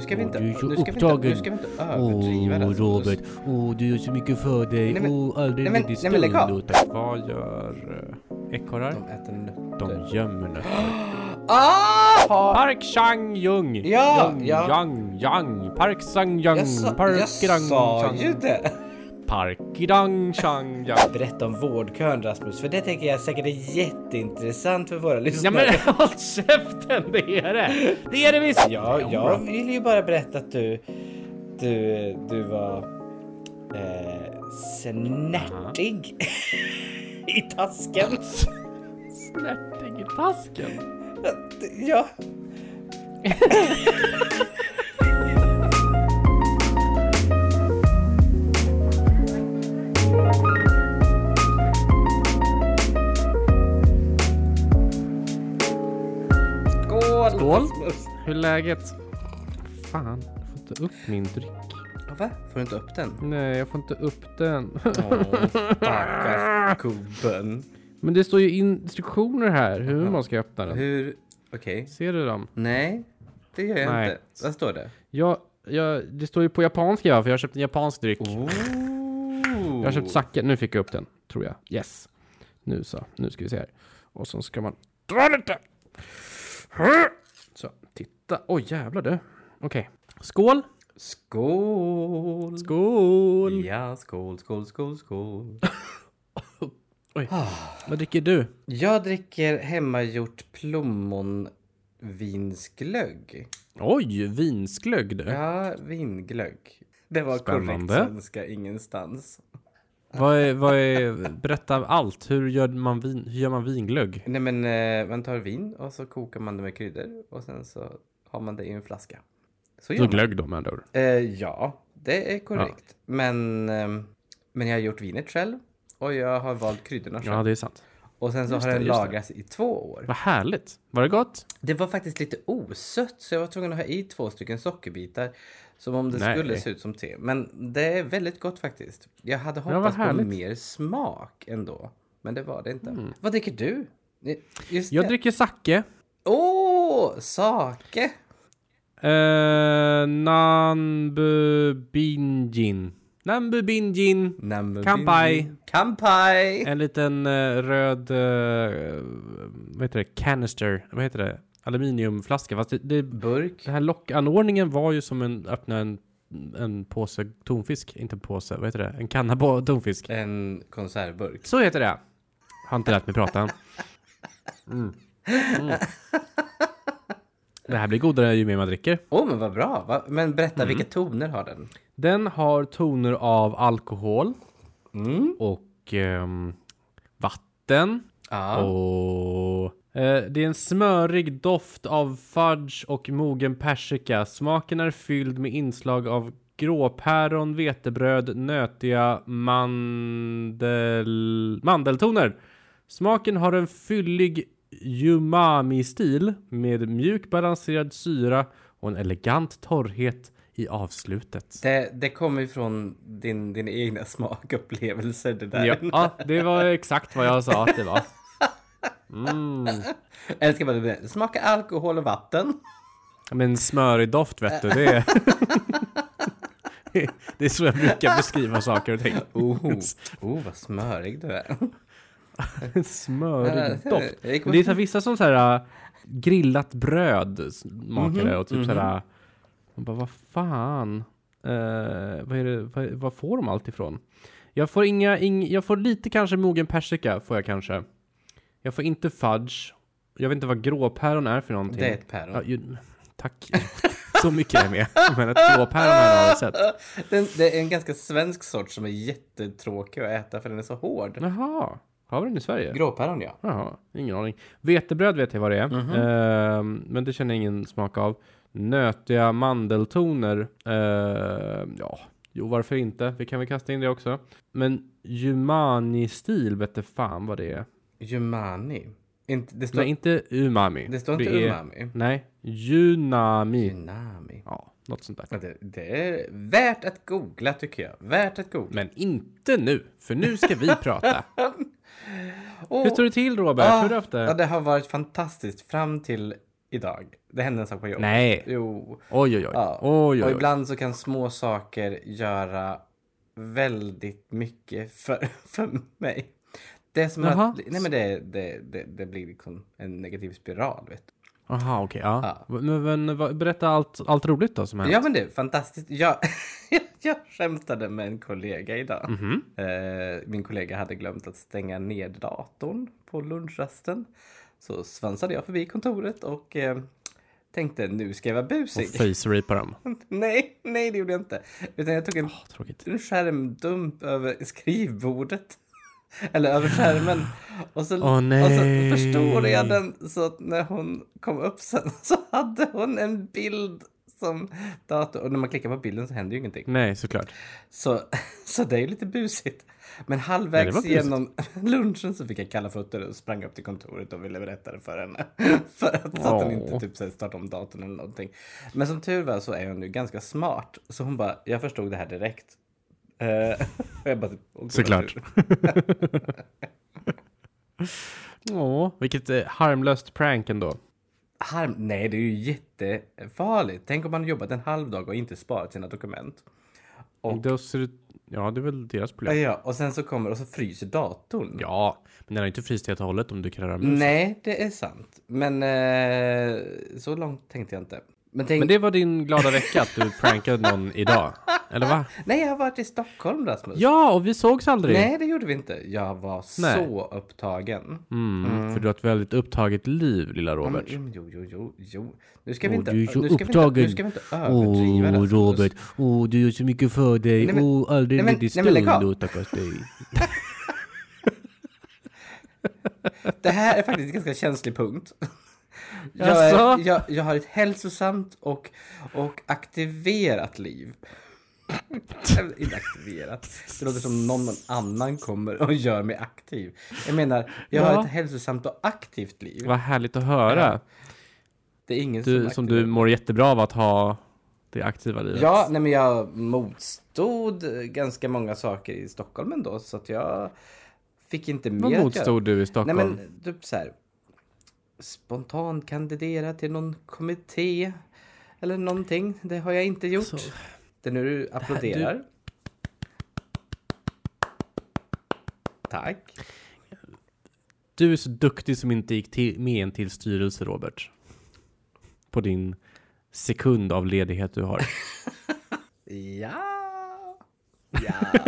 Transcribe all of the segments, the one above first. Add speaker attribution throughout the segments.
Speaker 1: ska vi inte,
Speaker 2: Åh, du är så
Speaker 1: nu ska vi inte,
Speaker 2: upptagen.
Speaker 1: nu ska vi inte
Speaker 2: Åh,
Speaker 1: överdriva det. alltså.
Speaker 2: Robert. Åh, du gör så mycket för dig.
Speaker 1: Nej, men-
Speaker 2: Åh, aldrig
Speaker 1: nej, men-
Speaker 2: riktigt
Speaker 1: nej, men lägg av.
Speaker 2: stödlåta. Vad gör eh, ekorrar?
Speaker 1: De äter nötter.
Speaker 2: De gömmer nötter.
Speaker 1: Ah! Har-
Speaker 2: Park Chang-Jung!
Speaker 1: Ja,
Speaker 2: Jung,
Speaker 1: ja.
Speaker 2: Yang, Yang! Park Sang-Yang!
Speaker 1: Jag, sa,
Speaker 2: Park
Speaker 1: jag
Speaker 2: Rang
Speaker 1: sa
Speaker 2: Chang.
Speaker 1: ju det!
Speaker 2: Park Rang Chang Yang!
Speaker 1: Berätta om vårdkön Rasmus, för det tänker jag säkert är jätteintressant för våra
Speaker 2: Ja
Speaker 1: lyssnare.
Speaker 2: men håll käften, det är det! Det är det visst!
Speaker 1: Ja, jag ville ju bara berätta att du, du, du var eh, snärtig i tasken.
Speaker 2: Alltså. Snärtig i tasken.
Speaker 1: Ja. Skål!
Speaker 2: Skål.
Speaker 1: Rasmus.
Speaker 2: Hur är läget? Fan, jag får inte upp min dryck.
Speaker 1: Va? Får du inte upp den?
Speaker 2: Nej, jag får inte upp den.
Speaker 1: Åh, Stackars gubben.
Speaker 2: Men det står ju instruktioner här hur man ska öppna den.
Speaker 1: Hur? Okej.
Speaker 2: Ser du dem?
Speaker 1: Nej, det gör jag
Speaker 2: Nej.
Speaker 1: inte. Vad står det?
Speaker 2: Jag, jag, det står ju på japanska va, för jag har köpt en japansk dryck.
Speaker 1: Ooh.
Speaker 2: Jag har köpt sake. Nu fick jag upp den, tror jag. Yes. Nu så. Nu ska vi se här. Och sen ska man dra lite. Så, titta. Oj, jävlar du. Okej. Skål.
Speaker 1: Skål!
Speaker 2: Skål.
Speaker 1: Ja, skål, skål, skål, skål.
Speaker 2: Vad dricker du?
Speaker 1: Jag dricker hemmagjort plommonvinsglögg.
Speaker 2: Oj, vinsglögg du.
Speaker 1: Ja, vinglögg. Det var korrekt
Speaker 2: Spännande.
Speaker 1: svenska ingenstans.
Speaker 2: Vad är, vad är, berätta allt. Hur gör man, vin, hur gör man vinglögg?
Speaker 1: Nej men eh, man tar vin och så kokar man det med kryddor och sen så har man det i en flaska. Så gör
Speaker 2: Så
Speaker 1: man.
Speaker 2: glögg då med andra ord.
Speaker 1: Eh, ja, det är korrekt. Men, ehm, men jag har gjort vinet själv och jag har valt kryddorna själv.
Speaker 2: Ja, det är sant.
Speaker 1: och sen så
Speaker 2: just
Speaker 1: har
Speaker 2: det,
Speaker 1: den
Speaker 2: just det.
Speaker 1: lagrats i två år.
Speaker 2: Vad härligt. Var det gott?
Speaker 1: Det var faktiskt lite osött så jag var tvungen att ha i två stycken sockerbitar. Som om det
Speaker 2: Nej.
Speaker 1: skulle se ut som te. Men det är väldigt gott faktiskt. Jag hade
Speaker 2: vad
Speaker 1: hoppats på
Speaker 2: härligt. Mm.
Speaker 1: mer smak ändå. Men det var det inte. Vad dricker du? Eh, Just
Speaker 2: Jag
Speaker 1: det.
Speaker 2: dricker sake.
Speaker 1: Åh, sake!
Speaker 2: Eh, Nambu Binjin. Nambu Binjin.
Speaker 1: Nambu
Speaker 2: Kanpai.
Speaker 1: Bindi. Kanpai!
Speaker 2: En liten eh, röd, eh, vad heter det, canister, vad heter det, aluminiumflaska. Fast det, det,
Speaker 1: Burk.
Speaker 2: den här lockanordningen var ju som en, öppna en, en påse tonfisk, inte en påse, vad heter det, en kanna på tonfisk.
Speaker 1: En konservburk.
Speaker 2: Så heter det. Har inte lärt mig prata. Mm. Mm. Det här blir godare ju mer man dricker.
Speaker 1: Åh, men vad bra! Va? Men
Speaker 2: Mm.
Speaker 1: berätta, vilka toner har den?
Speaker 2: Den har toner av alkohol och ehm, vatten.
Speaker 1: Ja.
Speaker 2: Och, eh, det är en smörig doft av fudge och mogen persika. Smaken är fylld med inslag av gråpäron, vetebröd, nötiga mandel, mandeltoner. Smaken har en fyllig umami-stil med mjuk balanserad syra och en elegant torrhet i avslutet.
Speaker 1: Det, det kommer ju från din, dina egna smakupplevelser, det där.
Speaker 2: Ja, ja, det var exakt vad jag sa att det var.
Speaker 1: Eller ska man bara smaka alkohol och vatten?
Speaker 2: Men smörig doft vet du, det är... Det är så jag brukar beskriva saker och ting.
Speaker 1: Oh, oh vad smörig du är.
Speaker 2: En smörig doft.
Speaker 1: Jag gick på-
Speaker 2: Men det är så här vissa som så här äh, grillat bröd smakar det och typ så här. äh, Man bara, vad fan? Eh, vad, är det, vad, vad får de allt ifrån? Jag får inga, ing, jag får lite kanske mogen persika får jag kanske. Jag får inte fudge. Jag vet inte vad gråpäron är för någonting.
Speaker 1: Det är ett päron.
Speaker 2: Ja, ju, tack. Så mycket är jag med. Men ett gråpäron har jag aldrig sett.
Speaker 1: Den, det är en ganska svensk sort som är jättetråkig att äta för den är så hård.
Speaker 2: Jaha, har vi den i Sverige?
Speaker 1: Gråpäron ja.
Speaker 2: Jaha, ingen aning. Vetebröd vet jag vad det är,
Speaker 1: Mhm.
Speaker 2: Ehm, men det känner jag ingen smak av. Nötiga mandeltoner, ehm, ja, jo varför inte? Vi kan väl kasta in det också. Men Jumani-stil vete fan vad det är.
Speaker 1: Jumani. Inte, det, står,
Speaker 2: Nej, inte umami.
Speaker 1: det står inte
Speaker 2: är-
Speaker 1: umami.
Speaker 2: Nej, junami.
Speaker 1: Junami.
Speaker 2: Ja, något sånt där.
Speaker 1: Ja, Det, det är värt att googla tycker jag. Värt att googla.
Speaker 2: Men inte nu, för nu ska vi prata.
Speaker 1: Åh,
Speaker 2: Hur står det till Robert? Hur är det
Speaker 1: Ah. ja,
Speaker 2: efter?
Speaker 1: det har varit fantastiskt fram till idag. Det hände en sak på jobbet.
Speaker 2: Nej.
Speaker 1: Jo.
Speaker 2: Oj, oj, oj.
Speaker 1: Ja.
Speaker 2: oj,
Speaker 1: Och
Speaker 2: oj, oj.
Speaker 1: ibland så kan små saker göra väldigt mycket för, för mig. Det är som
Speaker 2: Jaha.
Speaker 1: att, nej men det, det, det, det blir liksom en negativ spiral vet du.
Speaker 2: Aha, okej. ja.
Speaker 1: Ja.
Speaker 2: Men, men vad- berätta allt, allt roligt då som hänt.
Speaker 1: Ja men det är fantastiskt. Jag, jag skämtade med en kollega idag.
Speaker 2: Mhm.
Speaker 1: Eh, min kollega hade glömt att stänga ner datorn på lunchrasten. Så svansade jag förbi kontoret och eh, tänkte nu ska jag vara busig.
Speaker 2: Och face-rapa dem.
Speaker 1: nej, nej det gjorde jag inte. Utan jag tog en
Speaker 2: Åh, tråkigt.
Speaker 1: en skärmdump över skrivbordet. Eller över skärmen. Och så,
Speaker 2: Åh, nej.
Speaker 1: och så förstorade jag den så att när hon kom upp sen så hade hon en bild som dator. Och när man klickar på bilden så händer ju ingenting.
Speaker 2: Nej, såklart.
Speaker 1: Så, så det är ju lite busigt. Men
Speaker 2: Nej, det
Speaker 1: halvvägs
Speaker 2: var busigt.
Speaker 1: genom lunchen så fick jag kalla fötter och sprang upp till kontoret och ville berätta det för henne. För att, så att hon
Speaker 2: Åh.
Speaker 1: inte typ så här startade om datorn eller någonting. Men som tur var så är hon nu ganska smart. Så hon bara, jag förstod det här direkt. Eh, och jag bara, typ, "Åh, gud, vad
Speaker 2: Såklart.
Speaker 1: tur."
Speaker 2: Åh, vilket eh, harmlöst prank ändå.
Speaker 1: Harm, nej, det är ju jättefarligt. Tänk om man har jobbat en halv dag och inte sparat sina dokument. Och-
Speaker 2: Då ser det, ja, det är väl deras problem.
Speaker 1: Ja, och sen så kommer och så fryser datorn.
Speaker 2: Ja, men den har ju inte fryst helt och hållet om du kan röra
Speaker 1: Mm.
Speaker 2: musen.
Speaker 1: Nej, det är sant. Men eh, så långt tänkte jag inte. Men, tänk,
Speaker 2: Men det var din glada vecka att du prankade någon idag. Eller va?
Speaker 1: Nej, jag har varit i Stockholm Rasmus.
Speaker 2: Ja, och vi sågs aldrig.
Speaker 1: Nej, det gjorde vi inte. Jag var
Speaker 2: Nej.
Speaker 1: så upptagen.
Speaker 2: Mm, För du har ett väldigt upptaget liv, lilla Robert.
Speaker 1: Mm, jo, jo, jo, jo. Nu ska vi
Speaker 2: Åh,
Speaker 1: inte,
Speaker 2: du är så
Speaker 1: nu ska vi inte, nu
Speaker 2: upptagen.
Speaker 1: ska vi inte överdriva
Speaker 2: Åh,
Speaker 1: Rasmus.
Speaker 2: Robert. Åh, du gör så mycket för dig.
Speaker 1: Nej,
Speaker 2: Åh,
Speaker 1: men-
Speaker 2: aldrig
Speaker 1: nej, men-
Speaker 2: ledig
Speaker 1: nej, men lägg
Speaker 2: stund.
Speaker 1: av.
Speaker 2: Åh, stackars dig.
Speaker 1: Det här är faktiskt en ganska känslig punkt. Jag, är,
Speaker 2: Jaså?
Speaker 1: jag, jag har ett hälsosamt och, och aktiverat liv. Inte aktiverat. Det låter som någon annan kommer och gör mig aktiv. Jag menar, jag
Speaker 2: Ja.
Speaker 1: har ett hälsosamt och aktivt liv.
Speaker 2: Vad härligt att höra.
Speaker 1: Det är ingen
Speaker 2: Du,
Speaker 1: som,
Speaker 2: som
Speaker 1: aktiverar
Speaker 2: du mår jättebra av att ha det aktiva livet.
Speaker 1: Ja, nej men jag motstod ganska många saker i Stockholm ändå så att jag fick inte mer
Speaker 2: Vad
Speaker 1: att göra.
Speaker 2: motstod du i
Speaker 1: Nej
Speaker 2: Stockholm?
Speaker 1: men typ så här spontant kandidera till någon kommitté eller någonting. Det har jag inte gjort.
Speaker 2: Så-
Speaker 1: Det är nu du applåderar. Tack.
Speaker 2: Du är så duktig som inte gick till, med en till styrelse, Robert. På din sekund av ledighet du har.
Speaker 1: Ja. Ja.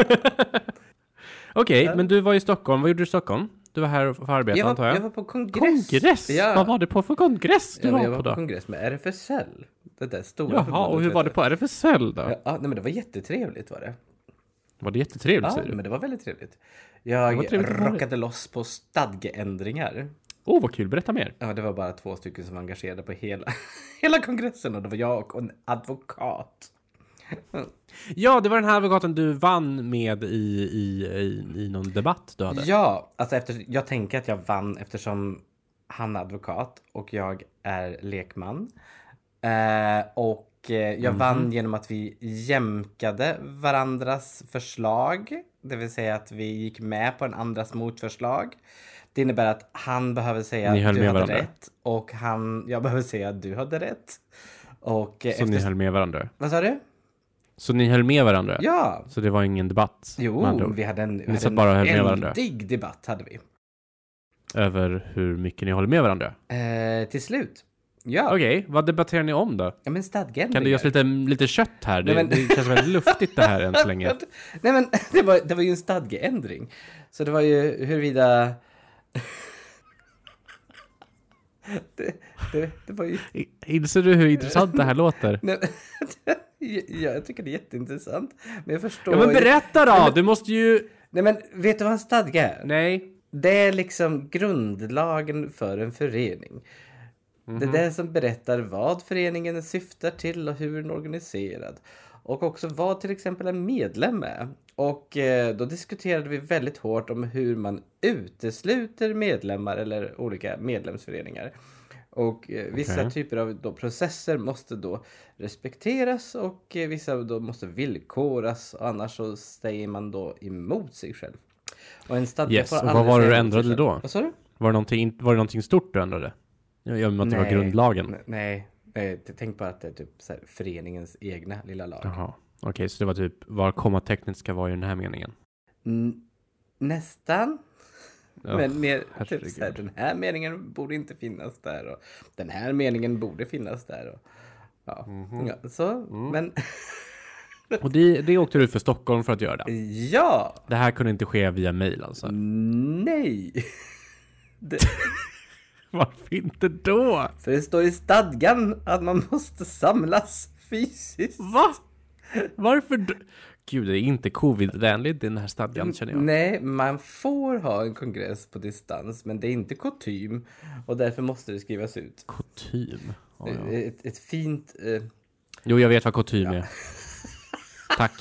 Speaker 2: Okej, men du var i Stockholm. Vad gjorde du i Stockholm? Du var här för arbete,
Speaker 1: Jag
Speaker 2: antar
Speaker 1: var,
Speaker 2: jag?
Speaker 1: jag var på kongress.
Speaker 2: Kongress?
Speaker 1: Ja.
Speaker 2: Vad var det på för kongress du
Speaker 1: Ja, men jag
Speaker 2: var på
Speaker 1: var på
Speaker 2: då?
Speaker 1: kongress med RFSL. Det där stora
Speaker 2: Jaha,
Speaker 1: förbundet,
Speaker 2: och hur
Speaker 1: vet
Speaker 2: var
Speaker 1: du.
Speaker 2: det på RFSL då?
Speaker 1: Ja, ja, nej men det var jättetrevligt var det.
Speaker 2: Var det jättetrevligt,
Speaker 1: Ja,
Speaker 2: säger du?
Speaker 1: men det var väldigt trevligt. Jag
Speaker 2: Det var trevligt att höra.
Speaker 1: rockade loss på stadgeändringar.
Speaker 2: Åh, oh, vad kul. Berätta mer.
Speaker 1: Ja, det var bara två stycken som var engagerade på hela, hela kongressen och det var jag och en advokat.
Speaker 2: Ja, det var den här advokaten du vann med i, i, i, i någon debatt du hade.
Speaker 1: Ja, alltså efter, jag tänker att jag vann eftersom han är advokat och jag är lekman. Eh, och eh, jag
Speaker 2: Mhm.
Speaker 1: vann genom att vi jämkade varandras förslag. Det vill säga att vi gick med på en andras motförslag. Det innebär att han behöver säga
Speaker 2: Ni höll
Speaker 1: att du
Speaker 2: med
Speaker 1: hade
Speaker 2: varandra.
Speaker 1: rätt och han, jag behöver säga att du hade rätt. Och eh,
Speaker 2: Så
Speaker 1: efter,
Speaker 2: ni höll med varandra.
Speaker 1: Vad sa du?
Speaker 2: Så ni höll med varandra?
Speaker 1: Ja!
Speaker 2: Så det var ingen debatt? med andra
Speaker 1: Jo,
Speaker 2: ord,
Speaker 1: vi hade en, hade
Speaker 2: satt
Speaker 1: en
Speaker 2: bara och höll med varandra.
Speaker 1: eldig debatt hade vi.
Speaker 2: Över hur mycket ni håller med varandra?
Speaker 1: Eh, till slut. Ja,
Speaker 2: Okej, vad debatterar ni om då?
Speaker 1: ja men stadgeändringar.
Speaker 2: Kan du ge oss lite, lite kött här? Det,
Speaker 1: Nej, men-
Speaker 2: det känns väldigt luftigt det här än så länge.
Speaker 1: Nej men det var, det var ju en stadgeändring. Så det var ju huruvida... det, det, det var ju...
Speaker 2: I- Inser du hur intressant det här låter?
Speaker 1: Nej, ja, jag tycker det är jätteintressant. Men jag förstår
Speaker 2: Ja men
Speaker 1: ju...
Speaker 2: berätta då! Du måste ju...
Speaker 1: Nej men vet du vad en stadga är?
Speaker 2: Nej.
Speaker 1: Det är liksom grundlagen för en förening. Det är det som berättar vad föreningen syftar till och hur den är organiserad. Och också vad till exempel en medlem är. Och eh, då diskuterade vi väldigt hårt om hur man utesluter medlemmar eller olika medlemsföreningar. Och eh, vissa
Speaker 2: Okej.
Speaker 1: typer av då processer måste då respekteras och eh, vissa då måste villkoras. Annars så säger man då emot sig själv. Och en stadga
Speaker 2: Yes,
Speaker 1: får
Speaker 2: och vad
Speaker 1: aldrig
Speaker 2: var
Speaker 1: säga
Speaker 2: det du
Speaker 1: emot sig
Speaker 2: ändrade
Speaker 1: själv.
Speaker 2: då?
Speaker 1: Vad sa du?
Speaker 2: Var det någonting, var det någonting stort du ändrade? Ja, i och med att det var grundlagen.
Speaker 1: n- Nej, nej, t- tänk bara att det är typ så här, föreningens egna lilla lag.
Speaker 2: Jaha. Okej, så det var typ var kommatecknet ska vara i den här meningen.
Speaker 1: N- nästan.
Speaker 2: Ja,
Speaker 1: men mer typ
Speaker 2: herregud.
Speaker 1: så här, den här meningen borde inte finnas där och den här meningen borde finnas där. Och, ja.
Speaker 2: Mhm.
Speaker 1: ja, så,
Speaker 2: Mm.
Speaker 1: men
Speaker 2: Och det, det åkte du ut för Stockholm för att göra
Speaker 1: Mm.
Speaker 2: det.
Speaker 1: ja,
Speaker 2: Det här kunde inte ske via mail alltså.
Speaker 1: Mm. nej. Det,
Speaker 2: Varför inte då?
Speaker 1: för det står i stadgan att man måste samlas fysiskt.
Speaker 2: Va? Varför? d- Gud, det är inte covid-vänligt den här stadgan känner jag.
Speaker 1: Nej, man får ha en kongress på distans, men det är inte kutym och därför måste det skrivas ut.
Speaker 2: Kutym. Ja, ja.
Speaker 1: Ett, ett fint... Eh,
Speaker 2: Jo, jag vet vad kutym är. Tack.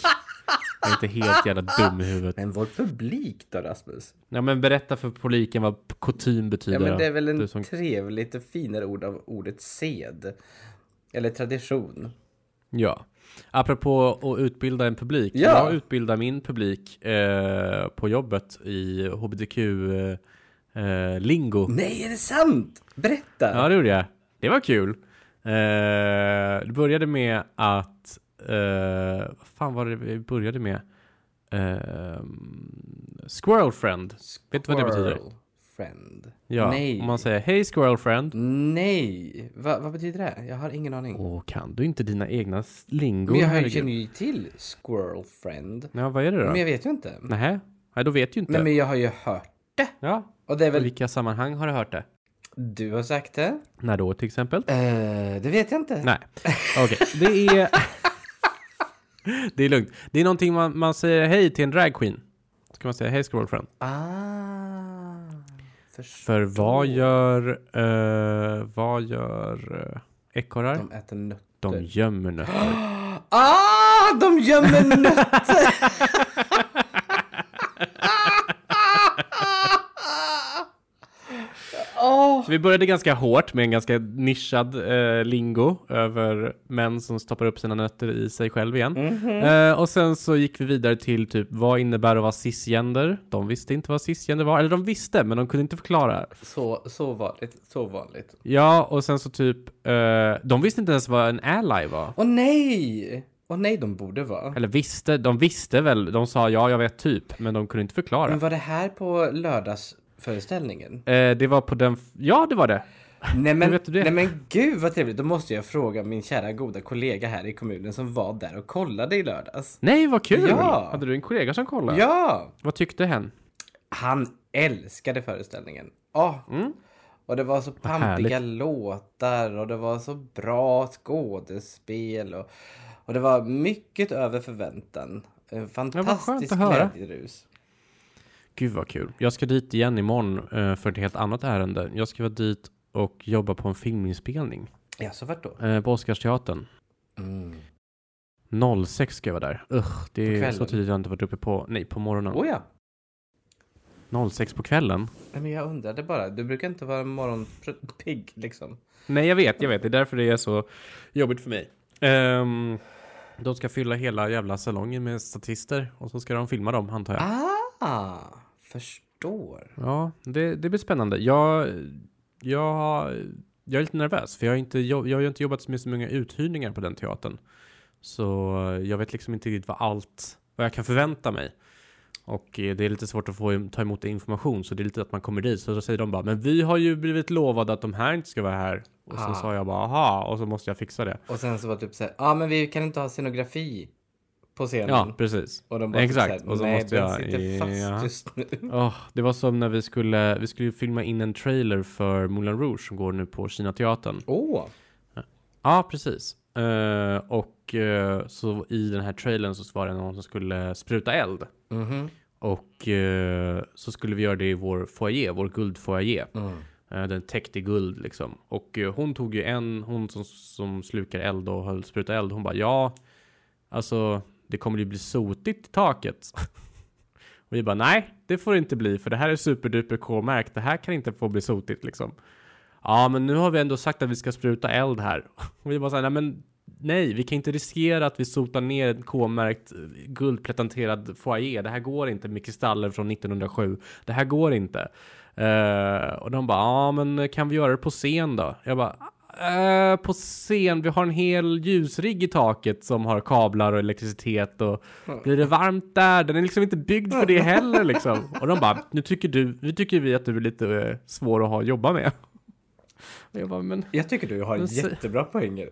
Speaker 2: Jag är inte helt jävla dum i huvudet.
Speaker 1: men vår publik då, Rasmus?
Speaker 2: Ja, men berätta för publiken vad kutym betyder.
Speaker 1: Ja, men det är väl
Speaker 2: Du
Speaker 1: en
Speaker 2: som-
Speaker 1: trevligt och finare ord av ordet sed. Eller tradition.
Speaker 2: Ja. Apropå att utbilda en publik.
Speaker 1: Ja.
Speaker 2: Jag utbildar min publik eh, på jobbet i hbtq-lingo. Eh, eh, lingo.
Speaker 1: Nej, är det sant? Berätta!
Speaker 2: Ja, det gjorde jag. Det var kul. Eh, det började med att... Eh, vad fan var det vi började med? Eh, squirrel friend. Vet du vad det betyder?
Speaker 1: Squirrel Friend.
Speaker 2: Ja,
Speaker 1: Nej.
Speaker 2: om man säger hej squirrel friend.
Speaker 1: Nej! Va, vad betyder det? Jag har ingen aning.
Speaker 2: Åh, kan du inte dina egna lingor?
Speaker 1: men jag har ju-
Speaker 2: herregud?
Speaker 1: känner ju till Squirrel Friend.
Speaker 2: Ja, vad är det då?
Speaker 1: Men jag vet ju inte.
Speaker 2: Nähä? Nej, då vet ju inte.
Speaker 1: Nej, men jag har ju hört det.
Speaker 2: Ja,
Speaker 1: Och det är
Speaker 2: i
Speaker 1: väl
Speaker 2: vilka sammanhang har du hört det?
Speaker 1: du har sagt det?
Speaker 2: När då till exempel?
Speaker 1: Eh, det vet jag inte.
Speaker 2: Nej, okej. Det är... det är lugnt. Det är någonting man, man säger hej till en dragqueen. Så kan man säga hej squirrel friend.
Speaker 1: Ah, förstår.
Speaker 2: För vad gör, eh, vad gör eh, ekorrar? De,
Speaker 1: De äter nötter.
Speaker 2: gömmer nötter.
Speaker 1: Ah, de gömmer nötter! Åh,
Speaker 2: Så vi började ganska hårt med en ganska nischad eh, lingo över män som stoppar upp sina nötter i sig själv igen. Eh, och sen så gick vi vidare till typ vad innebär att vara cisgender? De visste inte vad cisgender var, eller de visste men de kunde inte förklara.
Speaker 1: Så, så vanligt, så vanligt.
Speaker 2: Ja, och sen så typ, eh, de visste inte ens vad en ally var.
Speaker 1: Åh nej! Åh nej, de borde vara.
Speaker 2: Eller visste, de visste väl, de sa ja, jag vet typ, men de kunde inte förklara.
Speaker 1: Men var det här på lördagsföreställningen?
Speaker 2: Eh, det var på den... f- Ja, det var det.
Speaker 1: Nej men,
Speaker 2: Hur vet du det?
Speaker 1: nej men gud vad trevligt, då måste jag fråga min kära goda kollega här i kommunen som var där och kollade i lördags.
Speaker 2: Nej, vad kul!
Speaker 1: Ja.
Speaker 2: Hade du en kollega som kollade?
Speaker 1: Ja!
Speaker 2: Vad tyckte hen?
Speaker 1: Han älskade föreställningen. Ja.
Speaker 2: Mm.
Speaker 1: Och det var så pampiga låtar och det var så bra skådespel och, och det var mycket över förväntan. En fantastisk
Speaker 2: att höra.
Speaker 1: glädjerus.
Speaker 2: Gud, vad kul. Jag ska dit igen imorgon eh, för ett helt annat ärende. Jag ska vara dit och jobba på en filminspelning
Speaker 1: Ja, så vart då?
Speaker 2: eh, på Oscarsteatern.
Speaker 1: Mm.
Speaker 2: 06 ska jag vara där. Ugh,
Speaker 1: På
Speaker 2: det är
Speaker 1: kvällen?
Speaker 2: så tidigt jag har inte varit uppe på... Nej, på morgonen.
Speaker 1: Oh, ja.
Speaker 2: 06 på kvällen?
Speaker 1: Nej, Men jag undrade bara, du brukar inte vara morgonpigg liksom.
Speaker 2: Nej, jag vet, jag vet. Det är därför det är så jobbigt för mig. Ehm, de ska fylla hela jävla salongen med statister och så ska de filma dem, antar jag.
Speaker 1: Ah, förstår.
Speaker 2: Ja, det, det blir spännande. Jag, jag, jag är lite nervös för jag har, inte, jobb- jag har ju inte jobbat med så många uthyrningar på den teatern. Så jag vet liksom inte riktigt vad allt, vad jag kan förvänta mig. Och eh, det är lite svårt att få ta emot information så det är lite att man kommer dit så då säger de bara men vi har ju blivit lovade att de här inte ska vara här. Och sen
Speaker 1: Ah.
Speaker 2: sa jag bara aha och så måste jag fixa det.
Speaker 1: Och sen så var det typ så här, ja ah, men vi kan inte ha scenografi på scenen.
Speaker 2: Ja, precis.
Speaker 1: Och de bara typ
Speaker 2: Exakt,
Speaker 1: Så här,
Speaker 2: och så
Speaker 1: nej,
Speaker 2: måste
Speaker 1: den
Speaker 2: jag-
Speaker 1: sitter fast
Speaker 2: ja.
Speaker 1: just nu.
Speaker 2: Åh, det var som när vi skulle, vi skulle ju filma in en trailer för Moulin Rouge som går nu på Kina teatern.
Speaker 1: Åh!
Speaker 2: Ja, precis. Eh, och eh, så i den här trailern så var det någon som skulle spruta eld. Och eh, så skulle vi göra det i vår foyer, vår guldfoyer. Eh, den täckt i guld liksom. Och eh, hon tog ju en, hon som, som slukar eld och höll spruta eld. Hon bara ja, alltså det kommer ju bli sotigt i taket. och vi bara nej, det får det inte bli för det här är superduper K-märkt. Det här kan inte få bli sotigt liksom. Ja, men nu har vi ändå sagt att vi ska spruta eld här. Och vi bara så här, nej men nej, vi kan inte riskera att vi sotar ner en K-märkt eh, guldpretenterad foyer. Det här går inte med kristaller från 1907. Det här går inte. Eh, och de bara, ja men kan vi göra det på scen då? Jag bara, eh, på scen, vi har en hel ljusrigg i taket som har kablar och elektricitet och blir det varmt där? Den är liksom inte byggd för det heller liksom. Och de bara, nu tycker, du, nu tycker vi att du är lite eh, svår att ha att jobba med. Och Jag bara, men
Speaker 1: Jag tycker du har
Speaker 2: Men se-
Speaker 1: jättebra poänger.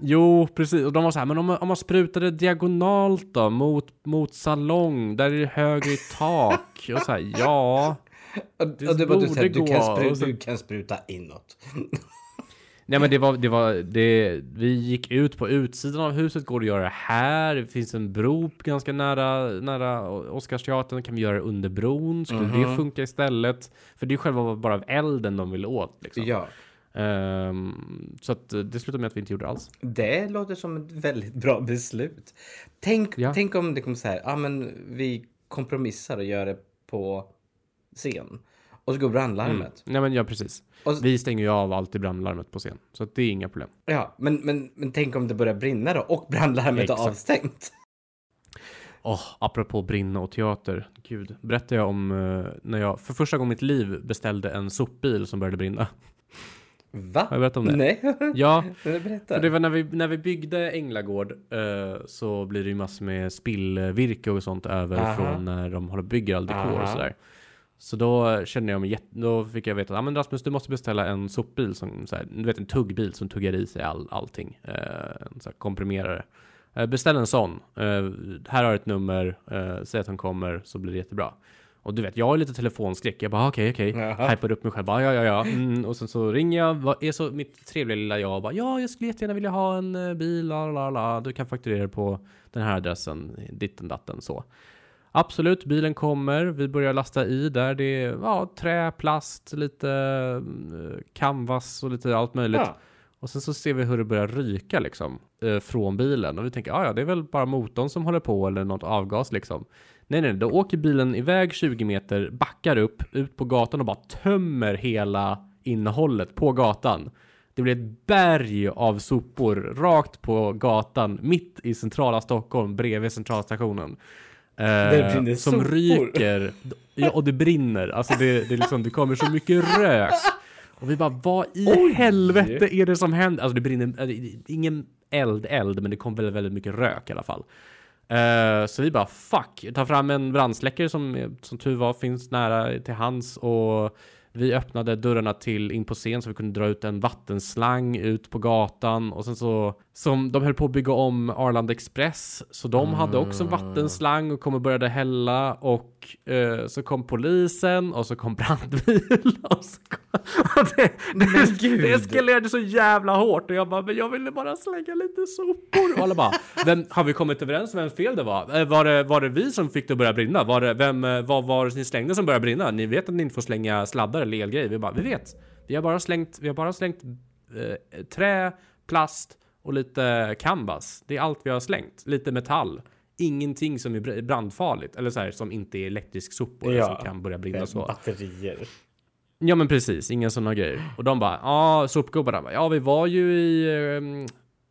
Speaker 2: Jo, precis. Och de var så här, men om, man- om man sprutade diagonalt då, mot, mot salong, där är det högre i tak. Och så här, ja.
Speaker 1: Och,
Speaker 2: Det
Speaker 1: och du, bara, du, säger,
Speaker 2: borde
Speaker 1: du, kan
Speaker 2: gå, och
Speaker 1: spruta,
Speaker 2: så-
Speaker 1: du kan spruta inåt.
Speaker 2: Nej men det var, det var, det, vi gick ut på utsidan av huset, går det att göra det här? Det finns en bro ganska nära, nära Oscarsteatern, kan vi göra det under bron? Skulle det funka istället? För det är själva bara elden de vill åt liksom.
Speaker 1: Ja,
Speaker 2: Ehm, så att eh, det slutade med att vi inte gjorde det alls.
Speaker 1: det låter som ett väldigt bra beslut. Tänk,
Speaker 2: Ja.
Speaker 1: tänk om det kommer så här, ja men vi kompromissar och gör det på scen. Och så går brandlarmet.
Speaker 2: Nej men ja precis.
Speaker 1: Och så-
Speaker 2: Vi stänger ju av alltid brandlarmet på scen, så att det är inga problem.
Speaker 1: Ja, men, men, men tänk om det börjar brinna då och brandlarmet är
Speaker 2: Exakt.
Speaker 1: avstängt.
Speaker 2: Åh, apropå brinna och teater. Gud, berättade jag om eh, när jag för första gången i mitt liv beställde en sopbil som började brinna.
Speaker 1: Va?
Speaker 2: Har jag berättat om det?
Speaker 1: Nej,
Speaker 2: Ja,
Speaker 1: Men
Speaker 2: för
Speaker 1: berätta.
Speaker 2: det var när vi, när vi byggde Änglagård eh, så blir det ju massor med spillvirke och sånt över
Speaker 1: Aha.
Speaker 2: från när de håller bygger all dekor och
Speaker 1: Aha.
Speaker 2: sådär. Så då kände jag mig jätte, då fick jag veta att ah, men Rasmus du måste beställa en sopbil som, så här, du vet en tuggbil som tuggar i sig all, allting. Eh, en så här komprimerare. Eh, beställ en sån. Eh, här har du ett nummer, eh, säg att han kommer så blir det jättebra. Och du vet, jag har lite telefonskräck. Jag bara okej, okej.
Speaker 1: Jaha.
Speaker 2: Hypar upp mig själv. Bara, ja, ja, ja. Mm, och sen så ringer jag. Vad är så mitt trevliga lilla jag. Bara, ja, jag skulle jättegärna vilja ha en eh, bil. La, la, la. Du kan fakturera på den här adressen. Ditten datten så. Absolut, bilen kommer. Vi börjar lasta i där. Det är ja, trä, plast, lite eh, canvas och lite allt möjligt.
Speaker 1: Ja.
Speaker 2: Och sen så ser vi hur det börjar ryka liksom eh, från bilen och vi tänker "Ah, ja, det är väl bara motorn som håller på eller något avgas liksom. Nej, nej, då åker bilen iväg 20 meter, backar upp ut på gatan och bara tömmer hela innehållet på gatan. Det blir ett berg av sopor rakt på gatan mitt i centrala Stockholm bredvid centralstationen. Eh,
Speaker 1: brinner
Speaker 2: som
Speaker 1: sopor.
Speaker 2: ryker ja, och det brinner. Alltså det, det, är liksom, det kommer så mycket rök. Och vi bara, vad i helvete är det som händer? Alltså det brinner, äh, det är ingen eld, eld, men det kom väldigt, väldigt mycket rök i alla fall. Eh, så vi bara, fuck, ta fram en brandsläckare som eh, som tur var finns nära till hands och vi öppnade dörrarna till in på scen så vi kunde dra ut en vattenslang ut på gatan och sen så som de höll på att bygga om Arlanda Express så de hade också en vattenslang och kom och började hälla och eh, så kom polisen och så kom brandbil och så kom, och det,
Speaker 1: Men
Speaker 2: det,
Speaker 1: gud.
Speaker 2: det eskalerade så jävla hårt och jag bara men jag ville bara slänga lite sopor och alla bara vem, har vi kommit överens om vem fel det var? Eh, Var det, var det vi som fick det att börja brinna? Var det, vem, eh, vad var det ni slängde som började brinna? Ni vet att ni inte får slänga sladdar eller elgrejer? Vi bara vi vet. Vi har bara slängt, vi har bara slängt eh, trä, plast och lite canvas. Det är allt vi har slängt. Lite metall. Ingenting som är br- brandfarligt eller så här som inte är elektrisk sopor
Speaker 1: Ja.
Speaker 2: som kan börja brinna så.
Speaker 1: Batterier.
Speaker 2: Ja men precis, inga sådana grejer. Och de bara, ja sopgubbarna bara, ja vi var ju i, ehm,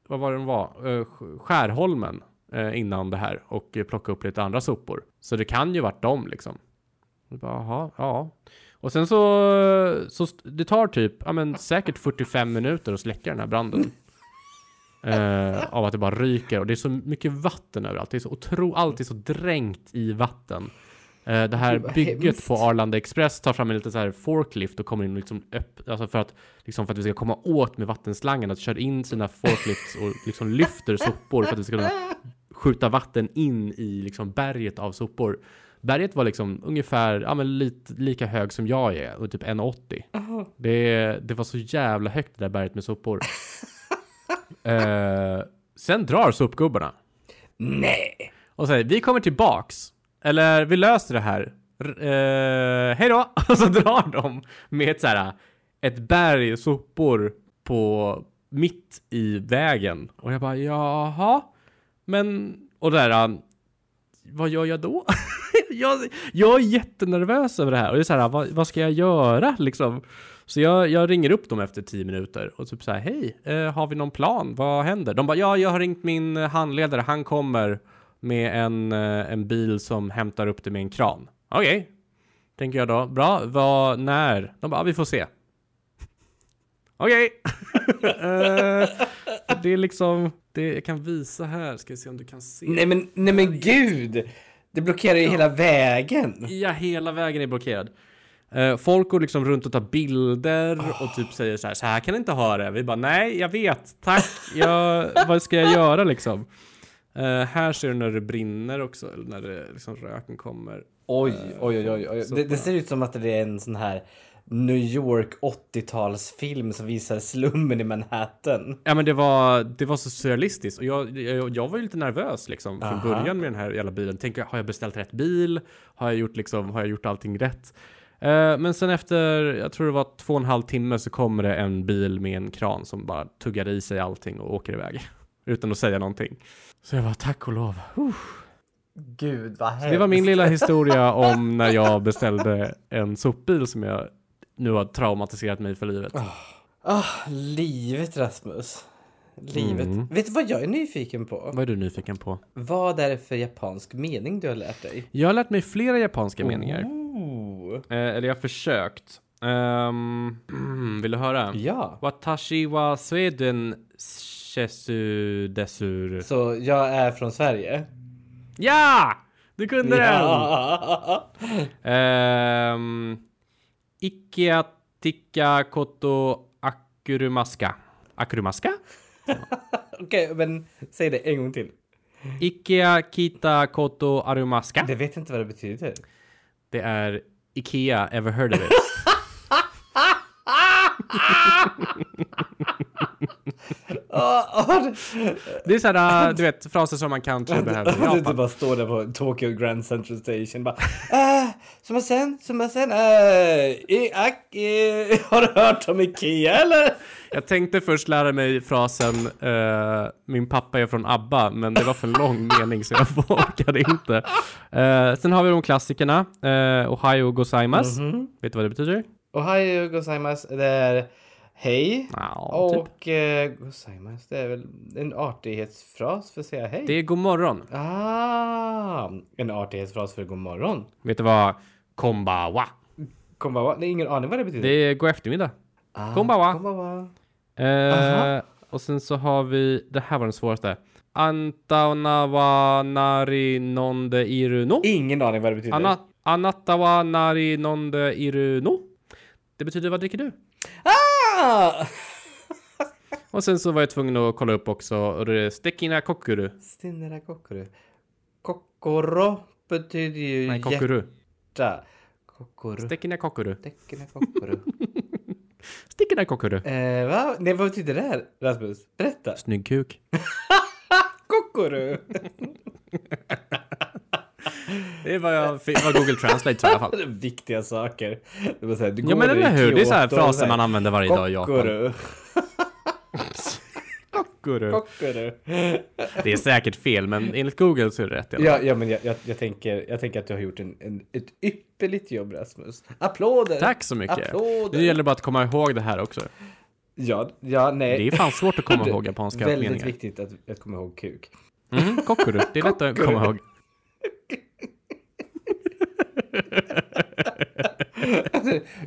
Speaker 2: vad var det de var, Eh, Sk- Skärholmen eh, innan det här och eh, plockade upp lite andra sopor. Så det kan ju varit dem liksom. Och bara, Jaha, ja. Och sen så, så st- det tar typ, ja men säkert 45 minuter att släcka den här branden. Eh, av att det bara ryker och det är så mycket vatten överallt. Det är så otro, allt är så dränkt i vatten. Eh, det här
Speaker 1: Gud, vad
Speaker 2: bygget
Speaker 1: hemskt.
Speaker 2: på Arlanda Express tar fram en liten så här forklift och kommer in liksom öpp, alltså för att liksom för att vi ska komma åt med vattenslangen att kör in sina forklifts och liksom lyfter sopor för att vi ska kunna skjuta vatten in i liksom berget av sopor. Berget var liksom ungefär ja, men lite, lika hög som jag är och typ 1,80. Det, det var så jävla högt det där berget med sopor. eh, sen drar sopgubbarna
Speaker 1: Nej!
Speaker 2: och säger vi kommer tillbaks. Eller vi löser det här. R- eh, hej då! Och så drar de med ett, så här, ett berg sopor på mitt i vägen. Och jag bara jaha. Men och där eh, vad gör jag då? jag, jag är jättenervös över det här och det är så här, vad, vad ska jag göra liksom? Så jag, jag ringer upp dem efter tio minuter och typ så här, hej, eh, har vi någon plan? Vad händer? De bara, ja, jag har ringt min handledare, han kommer med en, eh, en bil som hämtar upp det med en kran. Okej, Tänker jag då. Bra, vad, när? De bara, ah, vi får se. Okej! Eh, det är liksom, det, jag kan visa här, ska vi se om du kan se.
Speaker 1: Nej men, nej men gud! Det blockerar ju hela vägen.
Speaker 2: Ja, hela vägen är blockerad. Eh, folk går liksom runt och tar bilder och typ säger så här, så här kan ni inte ha det. Vi bara, nej, jag vet, tack, jag, vad ska jag göra liksom? Eh, här ser du när det brinner också, eller när det, liksom, röken kommer.
Speaker 1: Oj, oj, oj, oj. oj. Det, det ser ut som att det är en sån här New York 80-talsfilm som visar slummen i Manhattan.
Speaker 2: Ja men det var, det var så surrealistiskt och jag, jag, jag var ju lite nervös liksom från början med den här jävla bilen. Tänker, har jag beställt rätt bil? Har jag gjort liksom, har jag gjort allting rätt? Eh, men sen efter, jag tror det var två och en halv timme så kommer det en bil med en kran som bara tuggar i sig allting och åker iväg. Utan att säga någonting. Så jag var tack och lov.
Speaker 1: Gud vad hemskt.
Speaker 2: Det var min lilla historia om när jag beställde en sopbil som jag nu har traumatiserat mig för livet.
Speaker 1: Ah, livet Rasmus. Livet. Vet du vad jag är nyfiken på?
Speaker 2: Vad är du nyfiken på?
Speaker 1: Vad är det för japansk mening du har lärt dig?
Speaker 2: Jag har lärt mig flera japanska meningar.
Speaker 1: Oh.
Speaker 2: Eh, eller jag har försökt. Ehm, mm, vill du höra?
Speaker 1: Ja.
Speaker 2: Watashi wa Sweden shesu desur.
Speaker 1: Så jag är från Sverige.
Speaker 2: Ja! Du kunde den!
Speaker 1: Ja.
Speaker 2: Um, Ikea Tikka Koto Akurumaska. Akurumaska?
Speaker 1: Okej, men säg det en gång till.
Speaker 2: Ikea Kita Koto Arumaska.
Speaker 1: Det vet inte vad det betyder. typ.
Speaker 2: Det är Ikea, ever heard of it?
Speaker 1: Ah, ah, det-
Speaker 2: Det är såhär, äh, du vet, fraser som man kan tro behöver i
Speaker 1: Att du inte
Speaker 2: Japan.
Speaker 1: bara står där på Tokyo Grand Central Station bara äh, Som jag sen, som jag sen, äh, i, ak, eh, Har du hört om Ikea eller?
Speaker 2: Jag tänkte först lära mig frasen eh, min pappa är från ABBA, men det var för lång mening så jag vågade inte. Eh, sen har vi de klassikerna. Uh, Ohio gozaimasu. Vet du vad det betyder?
Speaker 1: Ohio gozaimasu, det är hej
Speaker 2: Ja, typ.
Speaker 1: Och eh, gozaimasu, det är väl en artighetsfras för att säga hej?
Speaker 2: Det är god morgon.
Speaker 1: Ah, en artighetsfras för god morgon
Speaker 2: Vet du vad kombawa?
Speaker 1: Konbawa, nej ingen aning vad det betyder
Speaker 2: Det är god eftermiddag.
Speaker 1: ah,
Speaker 2: konbawa.
Speaker 1: konbawa.
Speaker 2: Eh, och sen så har vi, det här var den svåraste. Antawa nari nonde iru no.
Speaker 1: Ingen aning vad det betyder
Speaker 2: Ana, anatawa nari nonde iru no. Det betyder vad dricker du?
Speaker 1: ah!
Speaker 2: Och sen så var jag tvungen att kolla upp också och det är stekina kokuru.
Speaker 1: Stinnera kokoro. Kokoro betyder ju
Speaker 2: Nej, kokuru.
Speaker 1: hjärta. Kokoro.
Speaker 2: Stekina kokuru.
Speaker 1: Stäckena kokoro.
Speaker 2: Stekina kokuru.
Speaker 1: eh, va? Nej, vad betyder det här, Rasmus? Berätta.
Speaker 2: Snygg kuk.
Speaker 1: Kokoro.
Speaker 2: Det var, jag, var Google Translate sa i alla fall.
Speaker 1: Viktiga saker. Det var så här, du
Speaker 2: Ja men
Speaker 1: går
Speaker 2: eller
Speaker 1: i
Speaker 2: hur, det är så här
Speaker 1: Kyoto och
Speaker 2: fraser
Speaker 1: så
Speaker 2: man använder varje dag i Japan.
Speaker 1: Kokoro.
Speaker 2: Kokuru.
Speaker 1: Kokoro.
Speaker 2: Det är säkert fel men enligt Google så är det rätt. i alla fall.
Speaker 1: Ja, ja men jag, jag, jag, tänker, jag tänker att du har gjort en, en, ett ypperligt jobb, Rasmus. Applåder!
Speaker 2: Tack så mycket.
Speaker 1: Applåder!
Speaker 2: Nu gäller det bara att komma ihåg det här också.
Speaker 1: Ja, ja, nej.
Speaker 2: Det är fan svårt att komma
Speaker 1: Du,
Speaker 2: ihåg japanska
Speaker 1: Väldigt
Speaker 2: meningar.
Speaker 1: viktigt att, att komma ihåg kuk.
Speaker 2: Mm, kokuru. Det är lätt att
Speaker 1: Kokuru.
Speaker 2: komma ihåg.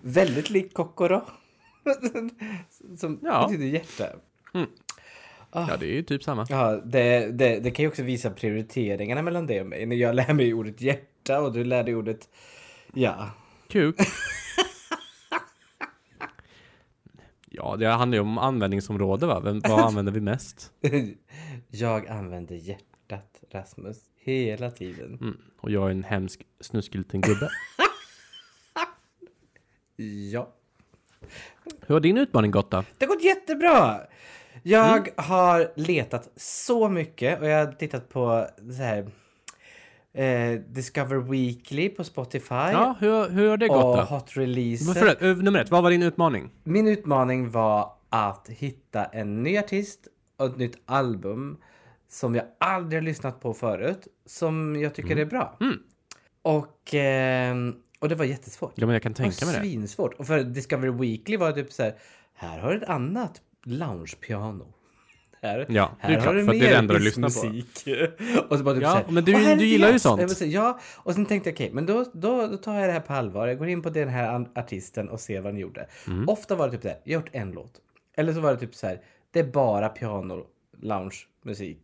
Speaker 1: Väldigt lik Kokoro. Som
Speaker 2: Ja.
Speaker 1: betyder hjärta.
Speaker 2: Ja, det är ju typ samma.
Speaker 1: Ja, det, det, det kan ju också visa prioriteringarna mellan dig och mig. När jag lär mig ordet hjärta och du lär dig ordet... Ja.
Speaker 2: Kuk. Ja, det handlar ju om användningsområde va? Vem, vad använder vi mest?
Speaker 1: Jag använder hjärtat, Rasmus. Hela tiden.
Speaker 2: Mm. Och jag är en hemsk snuskig liten gubbe.
Speaker 1: Ja.
Speaker 2: Hur har din utmaning gått då?
Speaker 1: Det har gått jättebra! Jag
Speaker 2: Mm.
Speaker 1: har letat så mycket och jag har tittat på så här, eh, Discover Weekly på Spotify.
Speaker 2: Ja, hur, hur har det
Speaker 1: och
Speaker 2: gått då?
Speaker 1: Hot Releases.
Speaker 2: Men förlåt, ö, nummer ett, vad var din utmaning?
Speaker 1: Min utmaning var att hitta en ny artist och ett nytt album som jag aldrig har lyssnat på förut, som jag tycker är bra.
Speaker 2: Mm.
Speaker 1: Och, ehm, och det var jättesvårt.
Speaker 2: Ja, men jag kan tänka
Speaker 1: och
Speaker 2: mig det.
Speaker 1: svinsvårt. Och för Discovery Weekly var det typ så här, här har du ett annat loungepiano. Här,
Speaker 2: Ja, det är
Speaker 1: här har
Speaker 2: klart,
Speaker 1: du
Speaker 2: för att det är det enda du lyssnar på.
Speaker 1: musik. och så bara typ
Speaker 2: Ja,
Speaker 1: så här,
Speaker 2: men du-
Speaker 1: "Åh, här är
Speaker 2: du
Speaker 1: lite
Speaker 2: gillar ju
Speaker 1: jazz."
Speaker 2: sånt.
Speaker 1: Jag bara så här, ja, och sen tänkte jag okej, men då, då, då tar jag det här på allvar. Jag går in på den här an- artisten och ser vad den gjorde.
Speaker 2: Mm.
Speaker 1: Ofta var det typ så här, jag har gjort en låt. Eller så var det typ så här, det är bara piano, lounge, musik,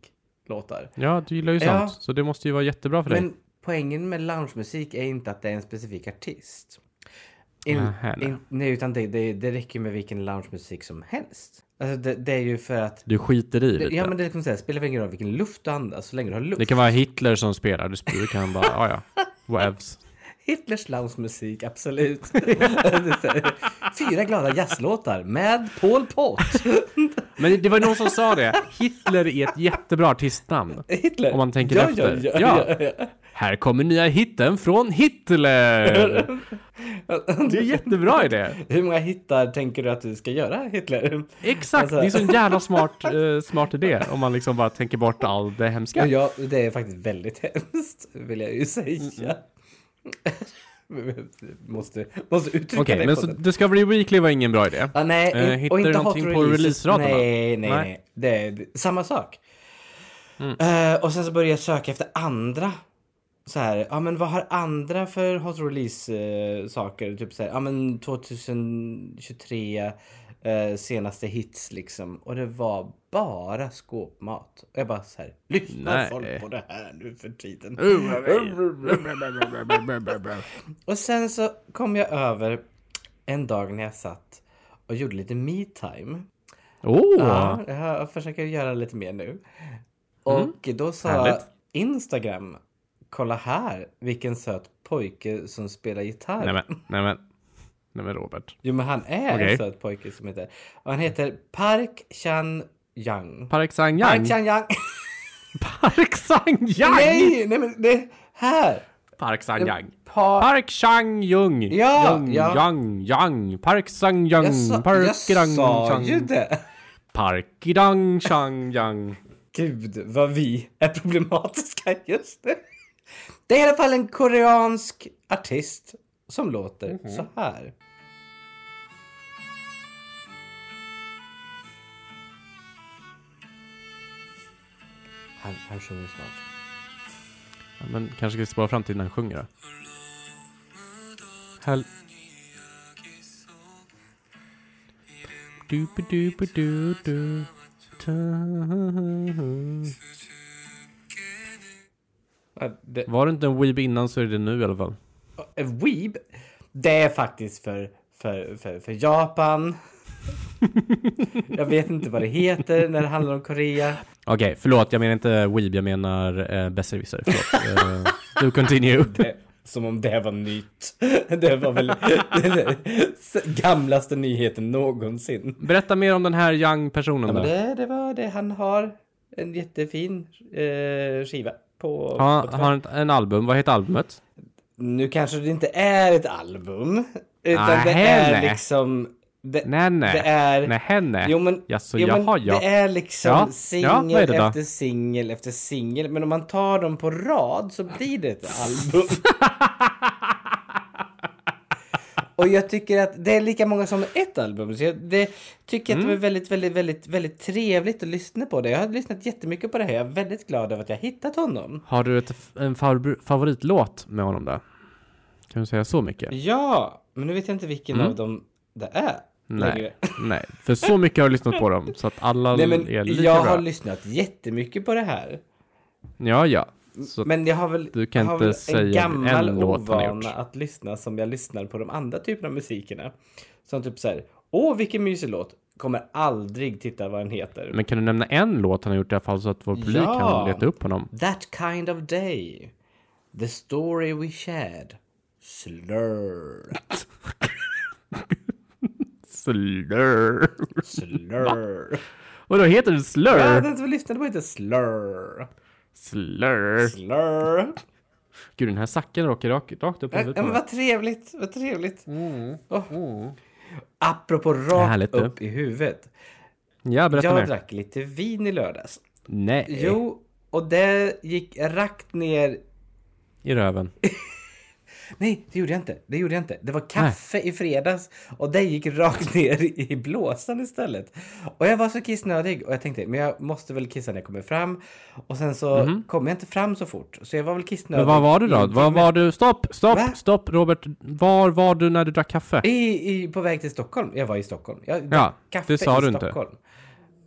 Speaker 1: låtar.
Speaker 2: Ja, du gillar ju sånt.
Speaker 1: Ja.
Speaker 2: Så det måste ju vara jättebra för dig.
Speaker 1: Men poängen med loungemusik är inte att det är en specifik artist. In,
Speaker 2: Nähä, nej.
Speaker 1: in, nej, utan det, det, det räcker med vilken loungemusik som helst. Alltså det, det är ju för att...
Speaker 2: Du skiter i lite.
Speaker 1: Ja, men det kan man säga, spelar väl ingen roll vilken luft du andas, så länge du har luft.
Speaker 2: Det kan vara Hitler som spelar. Du sp- Du kan bara, ja ja. Wevs.
Speaker 1: Hitlers loungemusik, absolut. Det är så här, Fyra glada jazzlåtar med Paul Pot.
Speaker 2: Men det var ju någon som sa det. Hitler är ett jättebra artistnamn.
Speaker 1: Hitler.
Speaker 2: Om man tänker
Speaker 1: ja,
Speaker 2: efter.
Speaker 1: Ja,
Speaker 2: Ja.
Speaker 1: ja, ja,
Speaker 2: Här kommer nya hitten från Hitler! Det är en jättebra idé!
Speaker 1: Hur många hittar tänker du att du ska göra, Hitler?
Speaker 2: Exakt!
Speaker 1: Alltså-
Speaker 2: Det är så en jävla smart, eh, smart idé om man liksom bara tänker bort all det
Speaker 1: Ja.
Speaker 2: hemska.
Speaker 1: ja, det är faktiskt väldigt hemskt, vill jag ju säga. måste, måste uttrycka
Speaker 2: Mm, Okej,
Speaker 1: det
Speaker 2: men
Speaker 1: på
Speaker 2: så
Speaker 1: den.
Speaker 2: Discovery Weekly var ingen bra idé.
Speaker 1: Ja, nej,
Speaker 2: Eh,
Speaker 1: in-
Speaker 2: hittar
Speaker 1: och
Speaker 2: du
Speaker 1: inte
Speaker 2: någonting
Speaker 1: hot
Speaker 2: på
Speaker 1: releases.
Speaker 2: releaseraderna?
Speaker 1: Nej, nej,
Speaker 2: Nej. Mm.
Speaker 1: nej. Det är det- samma sak. Eh, och sen så började jag söka efter andra. Så här, ja men vad har andra för hot release eh, saker? Typ så här, ja men 2023 eh, senaste hits liksom. Och det var bara skåpmat. Och jag bara så här, lyssnar
Speaker 2: Nej.
Speaker 1: folk på det här nu för tiden?
Speaker 2: Okej,
Speaker 1: Och sen så kom jag över en dag när jag satt och gjorde lite me-time.
Speaker 2: oh,
Speaker 1: Ja, jag försöker göra lite mer nu. Och då sa
Speaker 2: Mm. Härligt.
Speaker 1: Instagram, kolla här vilken söt pojke som spelar gitarr.
Speaker 2: nej men, nej men, nej men Robert.
Speaker 1: Jo men han är
Speaker 2: Okej.
Speaker 1: en söt pojke som heter, och han heter Park Chan Yang.
Speaker 2: Park Sang-Yang?
Speaker 1: Park Chan Yang!
Speaker 2: Park Sang-Yang!
Speaker 1: nej, nej men det, här!
Speaker 2: Park Sang-Yang.
Speaker 1: Park,
Speaker 2: Park Sang-Jung!
Speaker 1: Ja,
Speaker 2: Jung,
Speaker 1: ja.
Speaker 2: Yang, Yang, Park Sang-Yang,
Speaker 1: jag sa,
Speaker 2: Park
Speaker 1: jag
Speaker 2: Dang,
Speaker 1: sa
Speaker 2: Chang.
Speaker 1: ju det!
Speaker 2: Park Dang, Chang, Yang.
Speaker 1: Gud vad vi är problematiska just nu. Det är i alla fall en koreansk artist som låter så här. Han, han sjunger snart.
Speaker 2: Ja, Men kanske ska vi spara fram till när han sjunger då? Hel- Du-bu-du-bu-du-du. Ta-
Speaker 1: Ja, Det, eh,
Speaker 2: Var det inte en weeb innan så är det nu i alla fall.
Speaker 1: Weeb, det är faktiskt för, för, för, för Japan. Jag vet inte vad det heter när det handlar om Korea.
Speaker 2: Okej, förlåt. Jag menar inte weeb, jag menar eh, besserwisser. Förlåt. Eh, du continue.
Speaker 1: Det- Som om det var nytt. Det var väl den gamlaste nyheten någonsin.
Speaker 2: Berätta mer om den här Yang-personen
Speaker 1: Men
Speaker 2: då.
Speaker 1: det, det var det. Han har en jättefin eh, skiva på...
Speaker 2: Han
Speaker 1: Spotify.
Speaker 2: har han ett- en album. Vad heter albumet?
Speaker 1: Nu kanske det inte är ett album. Utan det
Speaker 2: Nähä,
Speaker 1: är
Speaker 2: nej.
Speaker 1: liksom... Det,
Speaker 2: Nej, nej.
Speaker 1: Det är...
Speaker 2: Nej, henne.
Speaker 1: Jo men,
Speaker 2: Jaså,
Speaker 1: jo, men
Speaker 2: jaha, ja.
Speaker 1: det är liksom
Speaker 2: Ja, ja,
Speaker 1: singel
Speaker 2: vad är det då?
Speaker 1: efter singel efter singel. Men om man tar dem på rad så blir det ett album. Och jag tycker att det är lika många som ett album. Så jag det, tycker att
Speaker 2: Mm.
Speaker 1: det är väldigt, väldigt, väldigt, väldigt trevligt att lyssna på det. Jag har lyssnat jättemycket på det här. Jag är väldigt glad över att jag hittat honom.
Speaker 2: Har du ett, en favorit, favoritlåt med honom där? Kan du säga så mycket?
Speaker 1: Ja, men nu vet jag inte vilken av dem det är. längre.
Speaker 2: Mm. Nej, nej, för så mycket har jag lyssnat på dem så att alla
Speaker 1: Nej men
Speaker 2: är lika
Speaker 1: jag
Speaker 2: bra.
Speaker 1: har lyssnat jättemycket på det här.
Speaker 2: Ja, ja. Så
Speaker 1: Men jag har väl,
Speaker 2: Du kan
Speaker 1: jag har
Speaker 2: inte
Speaker 1: väl
Speaker 2: säga
Speaker 1: en gammal
Speaker 2: en låt han har
Speaker 1: ovana
Speaker 2: gjort.
Speaker 1: att lyssna som jag lyssnar på de andra typerna av musikerna. Som typ så här, åh vilken mysig låt, kommer aldrig titta vad den heter.
Speaker 2: Men kan du nämna en låt han har gjort i alla fall så att vår publik
Speaker 1: Ja.
Speaker 2: kan leta upp honom?
Speaker 1: That kind of day, the story we shared, slur,
Speaker 2: Slur.
Speaker 1: slur.
Speaker 2: Och då heter den
Speaker 1: ja,
Speaker 2: Slur?
Speaker 1: den som lyssnade på heter slur,
Speaker 2: Slur.
Speaker 1: slur.
Speaker 2: Gud, den här sacken åker rakt, rakt upp i
Speaker 1: Ja,
Speaker 2: huvudet. på
Speaker 1: men
Speaker 2: mig.
Speaker 1: vad trevligt, vad trevligt. Åh. Apropå rakt
Speaker 2: Härligt, du.
Speaker 1: upp i huvudet.
Speaker 2: Ja, berätta
Speaker 1: Jag
Speaker 2: mer.
Speaker 1: drack lite vin i lördags.
Speaker 2: Nej,
Speaker 1: Jo, och det gick rakt ner.
Speaker 2: i röven.
Speaker 1: Nej, det gjorde jag inte. Det gjorde jag inte. Det var kaffe i fredags och det gick rakt ner i blåsan istället. Och jag var så kissnödig och jag tänkte, men jag måste väl kissa när jag kommer fram. Och sen så kom jag inte fram så fort. Så jag var väl kissnödig.
Speaker 2: Mhm. Men var var du
Speaker 1: i
Speaker 2: då?
Speaker 1: en
Speaker 2: Var
Speaker 1: timme.
Speaker 2: var du? Stopp, stopp,
Speaker 1: Va?
Speaker 2: stopp Robert. Var var du när du drack kaffe?
Speaker 1: I, i, på väg till Stockholm. Jag var i Stockholm. Jag drack
Speaker 2: Ja,
Speaker 1: kaffe
Speaker 2: det sa
Speaker 1: i
Speaker 2: du inte.
Speaker 1: Stockholm. Inte.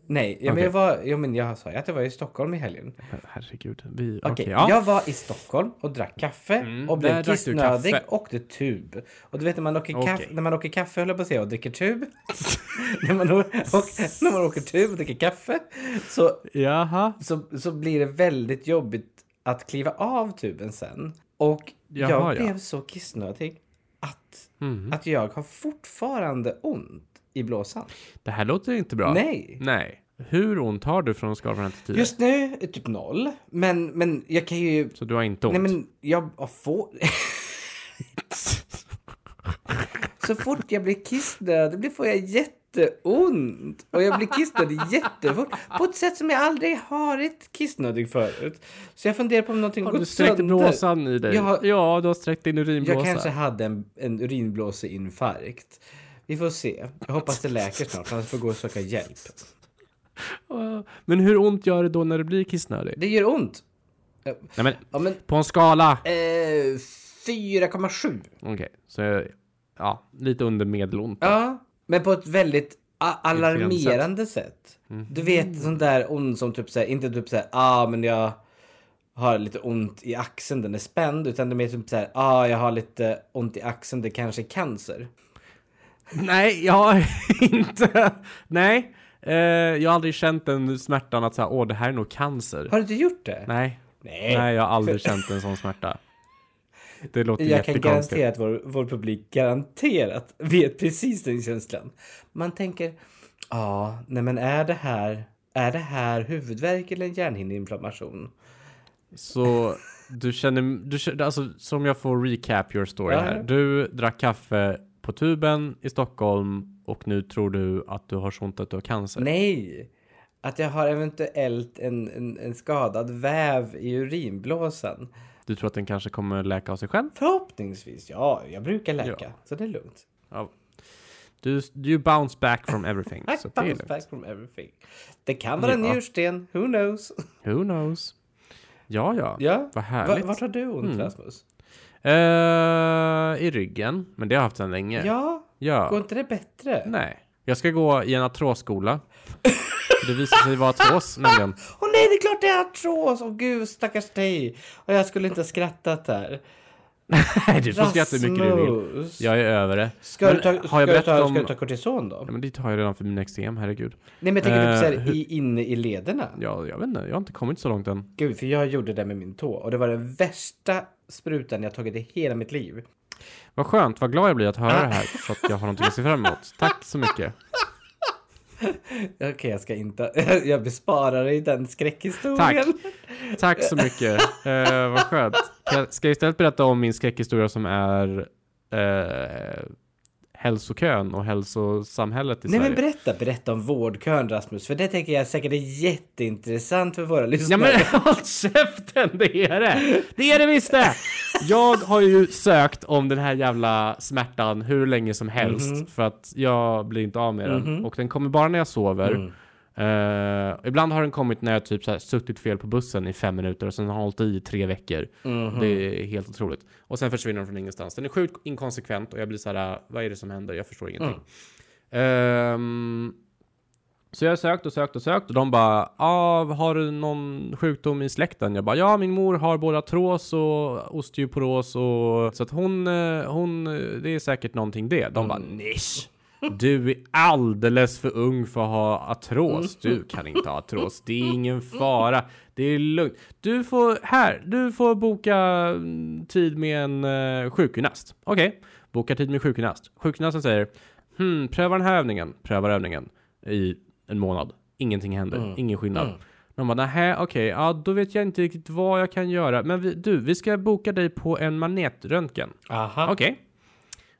Speaker 1: Nej, ja, men
Speaker 2: Okej.
Speaker 1: jag var, ja, men jag sa ju att jag var i Stockholm i helgen.
Speaker 2: Herregud. Vi,
Speaker 1: Okej,
Speaker 2: okej, ja. Mm,
Speaker 1: jag var i Stockholm och drack kaffe och
Speaker 2: där
Speaker 1: blev
Speaker 2: drack du
Speaker 1: kissnödig
Speaker 2: kaffe.
Speaker 1: och åkte tub. Och du vet när man åker, kaff-
Speaker 2: Okej.
Speaker 1: när man åker kaffe, höll jag på att säga, och dricker tub. när, man å- och, när man åker tub och dricker kaffe så,
Speaker 2: Jaha.
Speaker 1: så, så blir det väldigt jobbigt att kliva av tuben sen. Och
Speaker 2: Jaha,
Speaker 1: jag
Speaker 2: ja. Mm.
Speaker 1: blev så kissnödig att, att jag har fortfarande ont i blåsan.
Speaker 2: Det här låter inte bra.
Speaker 1: Nej.
Speaker 2: Nej. Hur ont har du från skalförändring till tio?
Speaker 1: Just nu är typ noll, men, men jag kan ju...
Speaker 2: Så du har inte ont?
Speaker 1: Nej men jag får... Så fort jag blir kissnödig det får jag jätteont. Och jag blir kissnödig jättefort. På ett sätt som jag aldrig har varit kissnödig förut. Så jag funderar på om någonting
Speaker 2: har du
Speaker 1: gått
Speaker 2: sträckt blåsan i dig?
Speaker 1: Jag har-
Speaker 2: Ja, du har sträckt din urinblåsa.
Speaker 1: Jag kanske hade en, en urinblåseinfarkt. Vi får se. Jag hoppas det läker snart, annars får jag gå och söka hjälp.
Speaker 2: Ah, Men hur ont gör det då när du blir kissnödig?
Speaker 1: Det gör ont.
Speaker 2: Nej men,
Speaker 1: Ja, men
Speaker 2: på en skala.
Speaker 1: eh, 4,7.
Speaker 2: Okej, så jag- ja, lite under medelont.
Speaker 1: Ja, men på ett väldigt a- alarmerande sätt.
Speaker 2: Mm.
Speaker 1: Du vet sånt där ont som typ såhär, inte typ såhär, ah men jag har lite ont i axeln, den är spänd. Utan det är mer typ såhär, ah jag har lite ont i axeln, det kanske är cancer.
Speaker 2: Nej, jag har inte. Nej, eh, jag har aldrig känt den smärtan att säga, åh, det här är nog cancer.
Speaker 1: Har du inte gjort det?
Speaker 2: Nej.
Speaker 1: Nej.
Speaker 2: Nej, jag har aldrig känt en sån smärta. Det låter
Speaker 1: Jag kan
Speaker 2: jättekonstigt.
Speaker 1: garantera att vår, vår publik garanterat vet precis den känslan. Man tänker, ja, ah, nej men är det här, är det här huvudvärk eller en hjärnhinneinflammation?
Speaker 2: Så du känner, du, känner- alltså som jag får recap your story
Speaker 1: Ja.
Speaker 2: här. Du drack kaffe på tuben i Stockholm och nu tror du att du har så ont att du har cancer.
Speaker 1: Nej! Att jag har eventuellt en, en, en skadad väv i urinblåsan.
Speaker 2: Du tror att den kanske kommer läka av sig själv.
Speaker 1: Förhoppningsvis, ja. Jag brukar läka,
Speaker 2: Ja.
Speaker 1: så det är lugnt.
Speaker 2: Ja. Du, you bounce back from everything.
Speaker 1: I
Speaker 2: så det är
Speaker 1: bounce
Speaker 2: lugnt.
Speaker 1: back from everything. Det kan vara en
Speaker 2: Ja.
Speaker 1: njursten, who knows?
Speaker 2: Who knows? Ja, ja.
Speaker 1: Ja.
Speaker 2: Vad
Speaker 1: Va,
Speaker 2: härligt. Mm.
Speaker 1: vart har du ont, Rasmus?
Speaker 2: Eh, I ryggen, men det har jag haft sedan länge.
Speaker 1: Ja,
Speaker 2: Ja.
Speaker 1: går inte det bättre?
Speaker 2: Nej. Jag ska gå i en artrosskola. det visar sig vara artros nämligen.
Speaker 1: Åh nej, det är klart det är artros! Åh gud, stackars dig! Och jag skulle inte ha skrattat där.
Speaker 2: Nej, du får skratta hur mycket du vill.
Speaker 1: Rasmus.
Speaker 2: Jag är över det.
Speaker 1: Ska,
Speaker 2: Men
Speaker 1: du ta,
Speaker 2: har
Speaker 1: ska,
Speaker 2: jag
Speaker 1: du ta,
Speaker 2: berättat
Speaker 1: ska
Speaker 2: om...
Speaker 1: du ta kortison då?
Speaker 2: Ja, men det har jag redan för min eksem, herregud.
Speaker 1: Nej men jag tänker typ
Speaker 2: Eh,
Speaker 1: såhär i, inne i lederna.
Speaker 2: Ja, jag vet inte, jag har inte kommit så långt än.
Speaker 1: Gud, för jag gjorde det med min tå och det var den värsta sprutan jag tagit i hela mitt liv.
Speaker 2: Vad skönt, vad glad jag blir att höra det här. Så att jag har någonting att se fram emot. Tack så mycket.
Speaker 1: Okej, jag ska inte. Jag besparar dig den skräckhistorien.
Speaker 2: Tack. Tack så mycket. Eh, vad skönt. Ska jag- Ska jag istället berätta om min skräckhistoria som är eh, hälsokön och hälsosamhället i
Speaker 1: Nej men
Speaker 2: Sverige?
Speaker 1: berätta, berätta om vårdkön Rasmus, för det tänker jag säkert är jätteintressant för våra
Speaker 2: Ja
Speaker 1: lyssnare.
Speaker 2: men håll käften, det är det! Det är det visst det! Jag har ju sökt om den här jävla smärtan hur länge som helst för att jag blir inte av med den. Och den kommer bara när jag sover. Eh, ibland har den kommit när jag typ så här, suttit fel på bussen i fem minuter och sen har den hållit i i tre veckor. Det är helt otroligt. Och sen försvinner den från ingenstans. Den är sjukt inkonsekvent och jag blir så här, "Ah, vad är det som händer? Jag förstår ingenting. Ehm, så jag har sökt och sökt och sökt och de bara, ah, har du någon sjukdom i släkten? Jag bara, ja min mor har både artros och osteoporos och så att hon, eh, hon, eh, det är säkert någonting det. De bara, nisch. Du är alldeles för ung för att ha artros. Du kan inte ha artros. Det är ingen fara. Det är lugnt. Du får, här, du får boka mm, tid med en eh, sjukgymnast. Okej, bokar tid med sjukgymnast. Sjukgymnasten säger, hmm, pröva den här övningen. Prövar övningen i en månad. Ingenting händer, ingen skillnad. De bara, nähä, okej, ja, då vet jag inte riktigt vad jag kan göra. Men vi, du, vi ska boka dig på en magnetröntgen.
Speaker 1: Aha.
Speaker 2: Okej.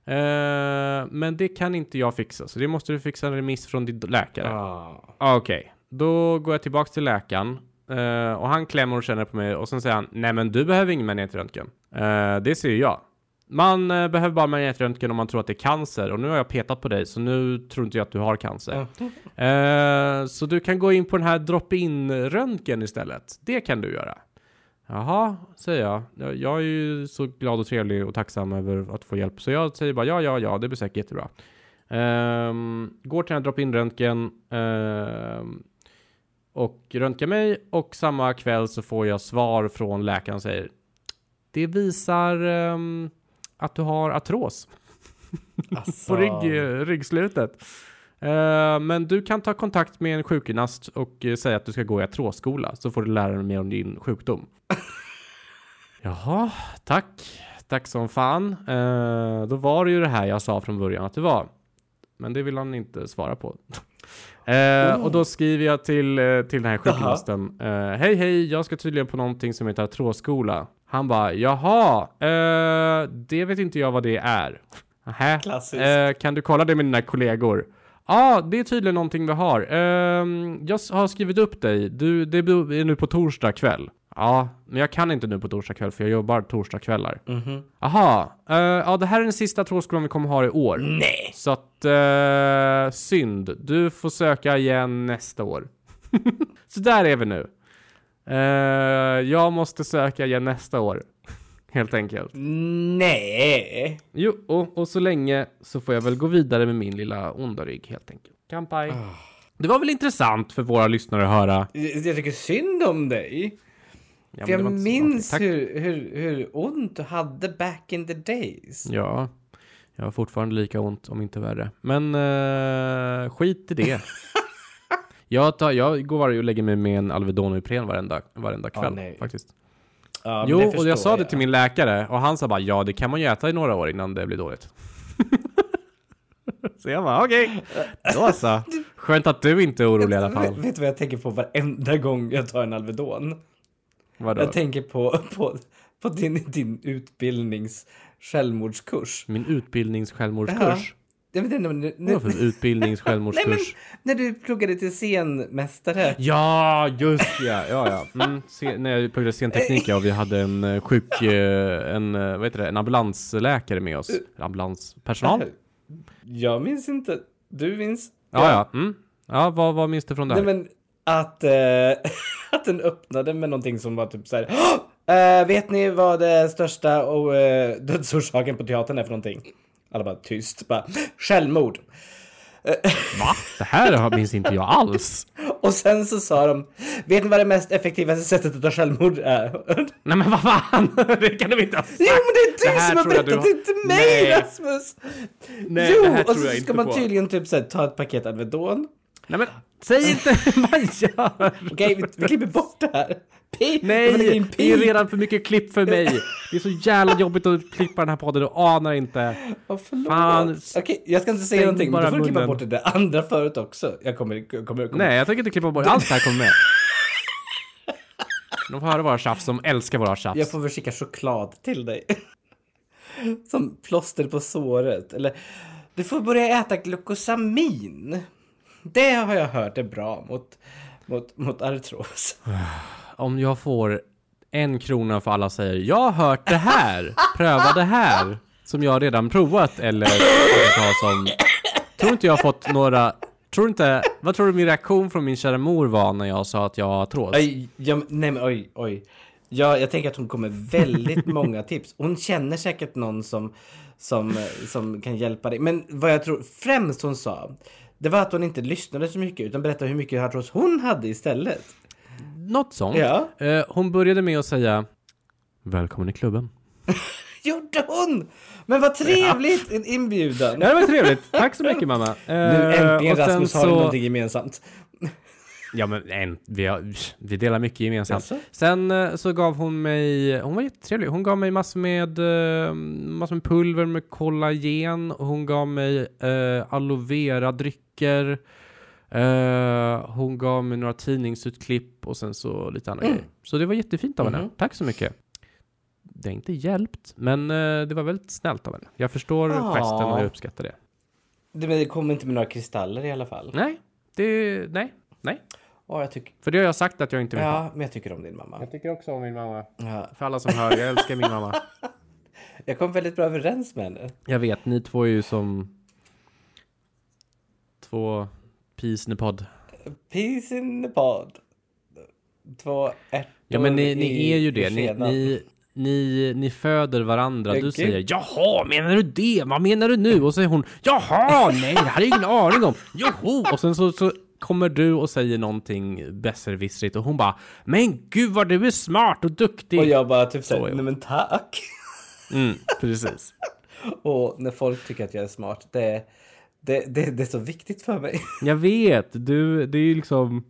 Speaker 2: Eh, men det kan inte jag fixa, så det måste du fixa en remiss från din läkare.
Speaker 1: Ah.
Speaker 2: Okej, då går jag tillbaks till läkaren eh, och han klämmer och känner på mig och sen säger han nej men du behöver ingen magnetröntgen. Eh, det ser ju jag. Man eh, behöver bara magnetröntgen om man tror att det är cancer och nu har jag petat på dig så nu tror inte jag att du har cancer. Eh, så du kan gå in på den här drop-in röntgen istället. Det kan du göra. Jaha, säger jag. jag. Jag är ju så glad och trevlig och tacksam över att få hjälp så jag säger bara ja, ja, ja, det blir säkert jättebra. Ehm, går till den här drop-in röntgen ehm, och röntgar mig och samma kväll så får jag svar från läkaren och säger det visar ehm, att du har artros
Speaker 1: Alltså,
Speaker 2: på rygg, eh, ryggslutet. Eh, men du kan ta kontakt med en sjukgymnast och eh, säga att du ska gå i artrosskola så får du lära dig mer om din sjukdom. Jaha, tack. Tack som fan. Eh, då var det ju det här jag sa från början att det var. Men det vill han inte svara på. Eh, och då skriver jag till, eh, till den här sjukgymnasten. Eh, hej hej, jag ska tydligen på någonting som heter artrosskola. Han bara, jaha, eh, det vet inte jag vad det är. Nähä.
Speaker 1: Klassiskt.
Speaker 2: Eh, kan du kolla det med dina kollegor? Ja, ah, det är tydligen någonting vi har. Ehm, jag s- har skrivit upp dig. Du, det är nu på torsdag kväll. Ja, men jag kan inte nu på torsdag kväll för jag jobbar torsdagskvällar.
Speaker 1: mhm.
Speaker 2: Aha, eh, ja det här är den sista trådskolan vi kommer ha i år.
Speaker 1: Nej!
Speaker 2: Så att, eh, synd. Du får söka igen nästa år. så där är vi nu. Eh, jag måste söka igen nästa år. Helt enkelt.
Speaker 1: Nej!
Speaker 2: Jo, och, och så länge så får jag väl gå vidare med min lilla onda rygg helt enkelt. Kampai.
Speaker 1: Ah.
Speaker 2: Det var väl intressant för våra lyssnare att höra.
Speaker 1: Jag jag tycker synd om dig.
Speaker 2: Ja, men
Speaker 1: För
Speaker 2: det var
Speaker 1: jag
Speaker 2: inte så
Speaker 1: minns
Speaker 2: smart. Tack.
Speaker 1: hur, hur, hur ont du hade back in the days.
Speaker 2: Ja, jag har fortfarande lika ont om inte värre. Men eh, skit i det. jag, tar, jag går varje och lägger mig med en Alvedon och Ipren varenda, varenda
Speaker 1: Ja,
Speaker 2: kväll
Speaker 1: nej.
Speaker 2: faktiskt.
Speaker 1: Ja, men
Speaker 2: jo,
Speaker 1: det
Speaker 2: och
Speaker 1: förstår
Speaker 2: jag sa det till min läkare och han sa bara ja, det kan man ju äta i några år innan det blir dåligt. så jag bara okej, då så. Skönt att du inte är orolig i alla fall.
Speaker 1: Vet, vet du vad jag tänker på varenda gång jag tar en Alvedon?
Speaker 2: Vadå?
Speaker 1: Jag tänker på, på, på din, din utbildnings självmordskurs.
Speaker 2: Min utbildnings-självmordskurs?
Speaker 1: Jag vet inte, om nu, nu,
Speaker 2: Vadå för
Speaker 1: nej, men,
Speaker 2: utbildnings-självmordskurs?
Speaker 1: när du pluggade till scenmästare.
Speaker 2: Ja, just ja, ja, ja. Mm, se, när jag pluggade scenteknik ja, och vi hade en eh, sjuk, eh, en, eh, vad heter det, en ambulansläkare med oss. Ambulanspersonal?
Speaker 1: Jag minns inte. Du minns?
Speaker 2: Ja, ja. Mm. Ja, vad, vad minns du från det
Speaker 1: Nej
Speaker 2: här?
Speaker 1: men att, eh, att den öppnade med någonting som var typ så här. "Åh! Eh, vet ni vad det största och eh, dödsorsaken på teatern är för någonting? Alla bara tyst. Bara, Självmord.
Speaker 2: Va? Det här har- minns inte jag alls.
Speaker 1: Och sen så sa de, vet ni vad det mest effektivaste sättet att ta självmord är?
Speaker 2: Nej men vad fan, det kan du inte ha sagt.
Speaker 1: jo men det är du
Speaker 2: Det här
Speaker 1: som har
Speaker 2: tror jag
Speaker 1: berättat
Speaker 2: du
Speaker 1: det
Speaker 2: har-
Speaker 1: till mig
Speaker 2: Nej.
Speaker 1: Rasmus!
Speaker 2: Nej,
Speaker 1: jo,
Speaker 2: det här
Speaker 1: och
Speaker 2: tror
Speaker 1: så
Speaker 2: jag
Speaker 1: ska
Speaker 2: inte
Speaker 1: man
Speaker 2: på.
Speaker 1: tydligen typ så här, ta ett paket Alvedon.
Speaker 2: Nej men, säg inte vad jag gör.
Speaker 1: Okej, vi, vi klipper bort det här. Pi, jag vill ha
Speaker 2: Nej,
Speaker 1: in
Speaker 2: det är
Speaker 1: pi.
Speaker 2: redan för mycket klipp för mig. Det är så jävla jobbigt att klippa den här podden, du anar inte.
Speaker 1: Åh, förlåt.
Speaker 2: Fan.
Speaker 1: Okej, jag ska inte säga
Speaker 2: Stäng
Speaker 1: någonting, men
Speaker 2: bara
Speaker 1: du får klippa
Speaker 2: munnen.
Speaker 1: bort det där andra förut också. Jag kommer, jag kommer, jag kommer.
Speaker 2: Nej, jag tänker inte klippa bort allt det här kommer med. De får höra våra tjafs, som älskar våra tjafs.
Speaker 1: Jag får väl skicka choklad till dig. Som plåster på såret. Eller, du får börja äta glukosamin. Det har jag hört är bra mot, mot, mot artros.
Speaker 2: Om jag får en krona för alla säger jag har hört det här, pröva det här, som jag redan provat eller jag har som... Tror inte jag har fått några... Tror inte... Vad tror du min reaktion från min kära mor var när jag sa att jag har artros?
Speaker 1: Oj, ja, men- nej men oj, oj. Ja, jag tänker att hon kommer väldigt många tips. Hon känner säkert någon som, som, som kan hjälpa dig. Men vad jag tror främst hon sa, det var att hon inte lyssnade så mycket utan berättade hur mycket artros hon hade istället.
Speaker 2: Något sånt.
Speaker 1: Ja.
Speaker 2: Eh, Hon började med att säga Välkommen i klubben.
Speaker 1: Gjorde hon! Men vad trevligt! En inbjudan.
Speaker 2: Ja, det var trevligt. Tack så mycket mamma.
Speaker 1: Nu äntligen
Speaker 2: Eh, och sen
Speaker 1: Rasmus har
Speaker 2: så-
Speaker 1: ni någonting gemensamt.
Speaker 2: Ja men en, vi, har, vi delar mycket gemensamt.
Speaker 1: Jaså?
Speaker 2: Sen eh, så gav hon mig, hon var jättetrevlig, hon gav mig massor med, eh, massor med pulver med kollagen, och hon gav mig eh, aloe vera drycker, eh, hon gav mig några tidningsutklipp och sen så lite andra
Speaker 1: Mm.
Speaker 2: grejer. Så det var jättefint av henne,
Speaker 1: Mhm.
Speaker 2: tack så mycket. Det har inte hjälpt, men eh, det var väldigt snällt av henne. Jag förstår
Speaker 1: Ja.
Speaker 2: gesten och jag uppskattar det.
Speaker 1: Du, men det kom inte med några kristaller i alla fall.
Speaker 2: Nej, det, nej, nej.
Speaker 1: Åh, jag tycker...
Speaker 2: För det har jag sagt att jag inte vill ha.
Speaker 1: Ja, men jag tycker om din mamma.
Speaker 2: Jag tycker också om min mamma.
Speaker 1: Ja.
Speaker 2: För alla som hör, jag älskar min mamma.
Speaker 1: Jag kom väldigt bra överens med henne.
Speaker 2: Jag vet, ni två är ju som två peas in a pod.
Speaker 1: Peace in the pod. Två ärtor
Speaker 2: Ja, men ni,
Speaker 1: i-
Speaker 2: ni är ju
Speaker 1: i
Speaker 2: det. Ni,
Speaker 1: skenan.
Speaker 2: ni, ni, ni föder varandra.
Speaker 1: Men
Speaker 2: Du
Speaker 1: gud.
Speaker 2: säger ”Jaha, menar du det? Vad menar du nu?” och så säger hon ”Jaha, nej, det hade jag ingen aning om. Joho!” och sen så, så kommer du och säger någonting besserwissrigt och hon bara ”Men gud vad du är smart och duktig!”
Speaker 1: Och jag bara typ
Speaker 2: Så,
Speaker 1: såhär,
Speaker 2: ja.
Speaker 1: nej men tack.
Speaker 2: mm, precis.
Speaker 1: Och när folk tycker att jag är smart, det är, det, det, det är så viktigt för mig.
Speaker 2: Jag vet, du, det är ju liksom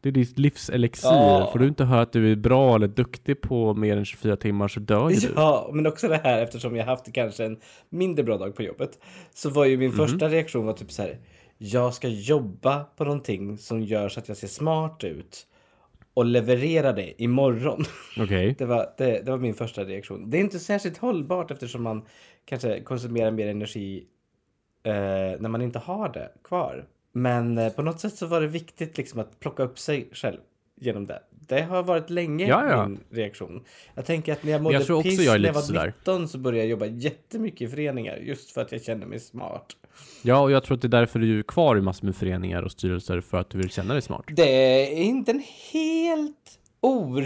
Speaker 2: det är ditt livselixir.
Speaker 1: Ja.
Speaker 2: Får du inte höra att du är bra eller duktig på mer än 24 timmar så dör ju du.
Speaker 1: Ja, men också det här eftersom jag haft kanske en mindre bra dag på jobbet. Så var ju min första reaktion var typ så här. Jag ska jobba på någonting som gör så att jag ser smart ut. Och leverera det imorgon.
Speaker 2: Okej.
Speaker 1: Det var, det, det var min första reaktion. Det är inte särskilt hållbart eftersom man kanske konsumerar mer energi eh, när man inte har det kvar. Men eh, på något sätt så var det viktigt liksom att plocka upp sig själv genom det. Det har varit länge
Speaker 2: Ja, ja.
Speaker 1: min reaktion. Jag tänker att när jag mådde
Speaker 2: jag tror också
Speaker 1: piss
Speaker 2: jag är
Speaker 1: när jag
Speaker 2: lite
Speaker 1: var
Speaker 2: sådär.
Speaker 1: 19 så började jag jobba jättemycket i föreningar just för att jag kände mig smart.
Speaker 2: Ja, och jag tror att det är därför du är kvar i massor med föreningar och styrelser för att du vill känna dig smart.
Speaker 1: Det är inte en helt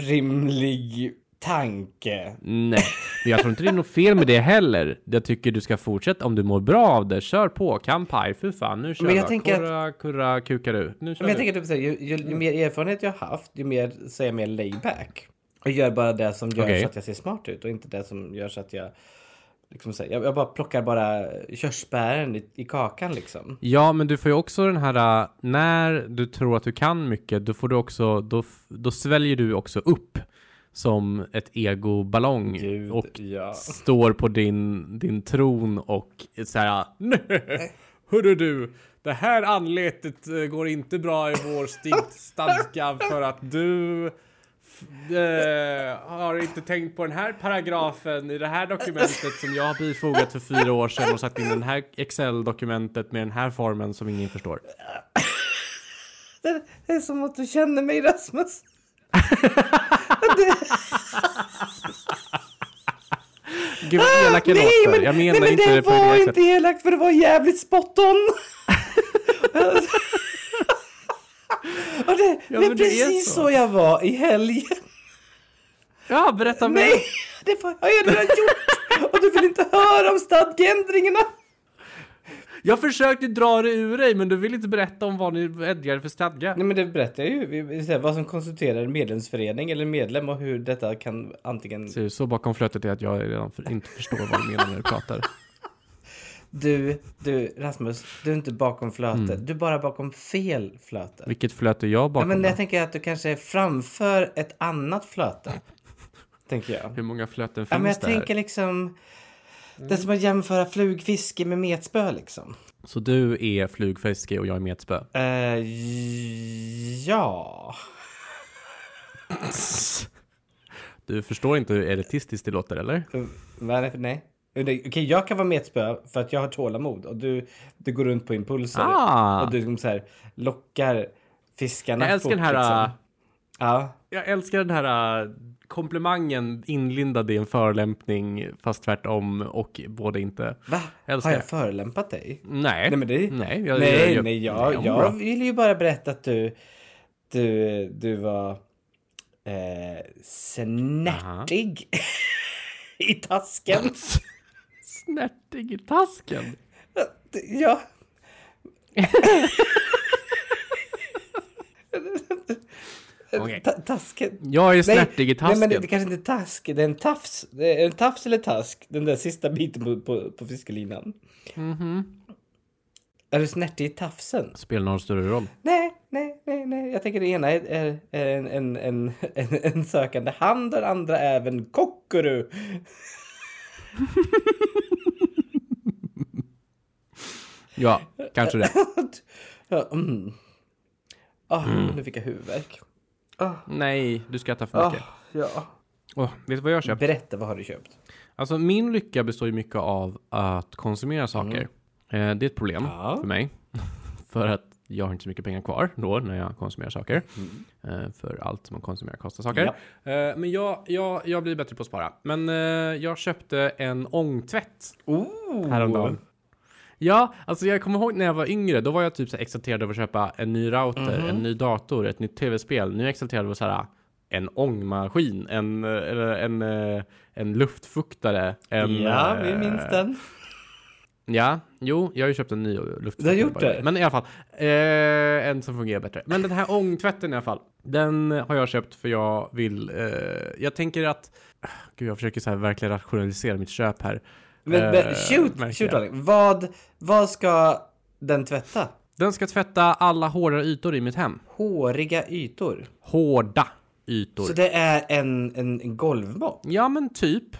Speaker 1: orimlig tanke.
Speaker 2: Nej, men jag tror inte det är något fel med det heller. Jag tycker du ska fortsätta om du mår bra av det. Kör på, kampaj, för fan, nu kör
Speaker 1: Men jag
Speaker 2: jag.
Speaker 1: tänker att-
Speaker 2: kurra, kurra, kukaru. Nu kör
Speaker 1: Men jag
Speaker 2: du.
Speaker 1: tänker typ såhär, ju, ju, ju
Speaker 2: Mm.
Speaker 1: mer erfarenhet jag har haft, ju mer så är jag mer layback. Och gör bara det som gör
Speaker 2: Okej.
Speaker 1: så att jag ser smart ut och inte det som gör så att jag... Liksom så här, jag, jag bara plockar bara körsbären i, i kakan liksom.
Speaker 2: Ja, men du får ju också den här, äh, när du tror att du kan mycket, då får du också, då, f- då sväljer du också upp som ett egoballong
Speaker 1: Gud,
Speaker 2: och
Speaker 1: ja.
Speaker 2: står på din, din tron och är så här, nej, hörru du, det här anletet eh, går inte bra i vår sti- stadga för att du f- eh, har inte tänkt på den här paragrafen i det här dokumentet som jag har bifogat för fyra år sedan och satt in den här Excel-dokumentet med den här formen som ingen förstår.
Speaker 1: Det, det är som att du känner mig Rasmus.
Speaker 2: Gud vad elak jag
Speaker 1: nej,
Speaker 2: låter.
Speaker 1: men,
Speaker 2: Jag
Speaker 1: nej,
Speaker 2: menar
Speaker 1: men
Speaker 2: inte
Speaker 1: det
Speaker 2: det på
Speaker 1: var
Speaker 2: det
Speaker 1: inte
Speaker 2: sättet.
Speaker 1: elakt för det var jävligt spot on. och det, men
Speaker 2: men det är
Speaker 1: precis
Speaker 2: så.
Speaker 1: så jag var i helgen.
Speaker 2: Ja, berätta mer.
Speaker 1: Nej, det har jag redan gjort! Och du vill inte höra om stadgeändringarna!
Speaker 2: Jag försökte dra det ur dig, men du vill inte berätta om vad ni ändrar för stadga.
Speaker 1: Nej men det berättar jag ju, Vi- vi säger vad som konstituerar en medlemsförening eller medlem och hur detta kan antingen...
Speaker 2: Ser du, eh, så bakom flötet är att jag redan för, inte förstår vad du menar när du pratar.
Speaker 1: Du, du Rasmus, du är inte bakom flötet, du är bara bakom fel flöte.
Speaker 2: Vilket flöte Mm. är jag
Speaker 1: Nej,
Speaker 2: bakom?
Speaker 1: men
Speaker 2: då?
Speaker 1: jag tänker att du kanske är framför ett annat flöte. tänker jag.
Speaker 2: Hur många flöten
Speaker 1: Ja,
Speaker 2: finns
Speaker 1: men jag
Speaker 2: där?
Speaker 1: tänker liksom... Det är som att jämföra flugfiske med metspö liksom.
Speaker 2: Så du är flugfiske och jag är metspö.
Speaker 1: Eh, ja...
Speaker 2: Du förstår inte hur elitistiskt det låter, eller?
Speaker 1: Mm, Vad är det för nej? Okej, okej, jag kan vara metspö för att jag har tålamod och du, du går runt på impulser.
Speaker 2: Ah.
Speaker 1: Och du liksom så här lockar fiskarna
Speaker 2: Jag älskar
Speaker 1: fort,
Speaker 2: den här... äh,
Speaker 1: Liksom. Ja.
Speaker 2: Jag älskar den här äh, komplimangen inlindad i en förolämpning, fast tvärtom och både inte.
Speaker 1: Va?
Speaker 2: Jag älskar
Speaker 1: har jag
Speaker 2: det.
Speaker 1: förelämpat dig?
Speaker 2: Nej.
Speaker 1: Nej men det...
Speaker 2: Nej, jag,
Speaker 1: nej,
Speaker 2: jag,
Speaker 1: nej, jag,
Speaker 2: jag
Speaker 1: jag,
Speaker 2: mår bra.
Speaker 1: ville ju bara berätta att du, du, du var eh, snärtig i tasken.
Speaker 2: Snärtig i tasken.
Speaker 1: Ja.
Speaker 2: Okej.
Speaker 1: Äh, Ta- tasken.
Speaker 2: Jag är snärtig i
Speaker 1: Nej, men
Speaker 2: tasken.
Speaker 1: det, det kanske inte är task, det är en tafs. Det är en tafs eller task, den där sista biten på, på, på fiskelinan.
Speaker 2: Mhm.
Speaker 1: Är du snärtig i tafsen?
Speaker 2: Spelar någon större roll?
Speaker 1: Nej, nej, nej, nej. Jag tänker det ena är, är, är en, en, en, en, en sökande hand och det andra är även kockuru.
Speaker 2: Ja, kanske det.
Speaker 1: Ja, mm. Ah,
Speaker 2: Mm.
Speaker 1: Nu fick jag huvudvärk. Ah,
Speaker 2: Nej, du skrattar för
Speaker 1: ah,
Speaker 2: mycket.
Speaker 1: ja.
Speaker 2: Åh, vet du vad jag köpt?
Speaker 1: Berätta, vad har du köpt?
Speaker 2: Alltså min lycka består ju mycket av att konsumera saker. Eh, det är ett problem
Speaker 1: Ja.
Speaker 2: för mig. för att jag har inte så mycket pengar kvar då när jag konsumerar saker. Eh, för allt som man konsumerar kostar saker. Eh, men jag, jag, jag blir bättre på att spara. Men eh, jag köpte en ångtvätt
Speaker 1: Oh.
Speaker 2: häromdagen. Ja, alltså jag kommer ihåg när jag var yngre, då var jag typ så här exalterad över att köpa en ny router,
Speaker 1: Mhm.
Speaker 2: en ny dator, ett nytt tv-spel. Nu är jag exalterad över så här, en ångmaskin, en, eh, eller en, eh, en luftfuktare. En,
Speaker 1: Ja, vi
Speaker 2: eh,
Speaker 1: minns den.
Speaker 2: Ja, jo, jag har ju köpt en ny luftfuktare.
Speaker 1: Du har gjort det?
Speaker 2: Men i alla fall, eh, en som fungerar bättre. Men den här ångtvätten i alla fall, den har jag köpt för jag vill, eh, jag tänker att, gud jag försöker så här verkligen rationalisera mitt köp här.
Speaker 1: Men, men
Speaker 2: Eh,
Speaker 1: shoot,
Speaker 2: märker
Speaker 1: shoot
Speaker 2: jag.
Speaker 1: Alex. vad, vad ska den tvätta?
Speaker 2: Den ska tvätta alla hårda ytor i mitt hem.
Speaker 1: Håriga ytor.
Speaker 2: Hårda ytor.
Speaker 1: Så det är en, en, en golvmopp?
Speaker 2: Ja, men typ.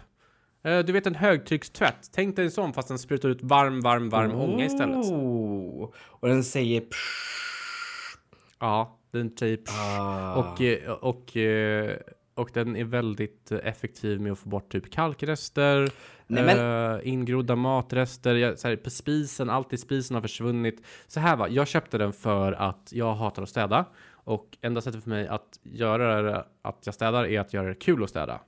Speaker 2: Eh, Du vet en högtryckstvätt. Tänk dig en sån fast den sprutar ut varm, varm, varm ånga istället.
Speaker 1: Oh. Och den säger psh.
Speaker 2: Ja, den typ. Och, eh, och, eh, och den är väldigt effektiv med att få bort typ kalkrester,
Speaker 1: Nej,
Speaker 2: eh, ingrodda matrester, jag, så här, på spisen, allt i spisen har försvunnit. Så här va, jag köpte den för att jag hatar att städa och enda sättet för mig att göra det, att jag städar är att göra det kul att städa.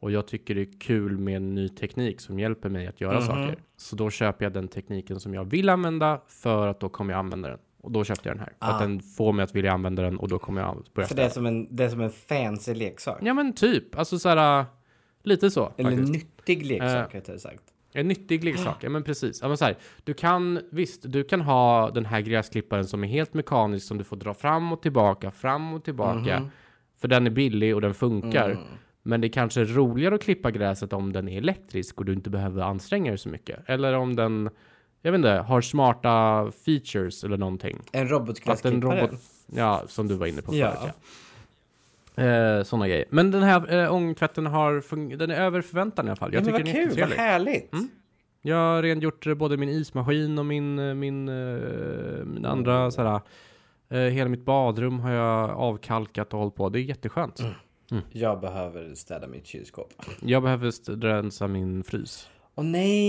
Speaker 2: Och jag tycker det är kul med ny teknik som hjälper mig att göra saker. Så då köper jag den tekniken som jag vill använda för att då kommer jag använda den. Och då köpte jag den här. För att den får mig att vilja använda den och då kommer jag börja
Speaker 1: För det är som en, det är som en fancy leksak.
Speaker 2: Ja men typ, alltså så här äh, lite så
Speaker 1: Eller en
Speaker 2: faktiskt.
Speaker 1: nyttig leksak
Speaker 2: Eh.
Speaker 1: rättare sagt.
Speaker 2: En nyttig leksak, ja men precis. Ja, men så här, du kan, visst, du kan ha den här gräsklipparen som är helt mekanisk som du får dra fram och tillbaka, fram och tillbaka. För den är billig och den funkar. Men det kanske är roligare att klippa gräset om den är elektrisk och du inte behöver anstränga dig så mycket. Eller om den, jag vet inte, har smarta features eller någonting.
Speaker 1: En
Speaker 2: Att en
Speaker 1: robotgräsklippare.
Speaker 2: robot, ja, som du var inne på
Speaker 1: Ja.
Speaker 2: förut. Ja. Eh, Sådana grejer. Men den här eh, ångtvätten har fun- den är över förväntan i alla fall.
Speaker 1: Ja,
Speaker 2: Jag
Speaker 1: men
Speaker 2: tycker
Speaker 1: vad
Speaker 2: den är
Speaker 1: kul, vad
Speaker 2: jättetrevlig. Mm.
Speaker 1: härligt.
Speaker 2: Jag har rengjort eh, både min ismaskin och min, eh, min, eh,
Speaker 1: Mm.
Speaker 2: min andra så här, eh, Hela mitt badrum har jag avkalkat och hållit på. Det är jätteskönt.
Speaker 1: Mm. Jag behöver städa mitt kylskåp.
Speaker 2: Jag behöver st- rensa min frys.
Speaker 1: Åh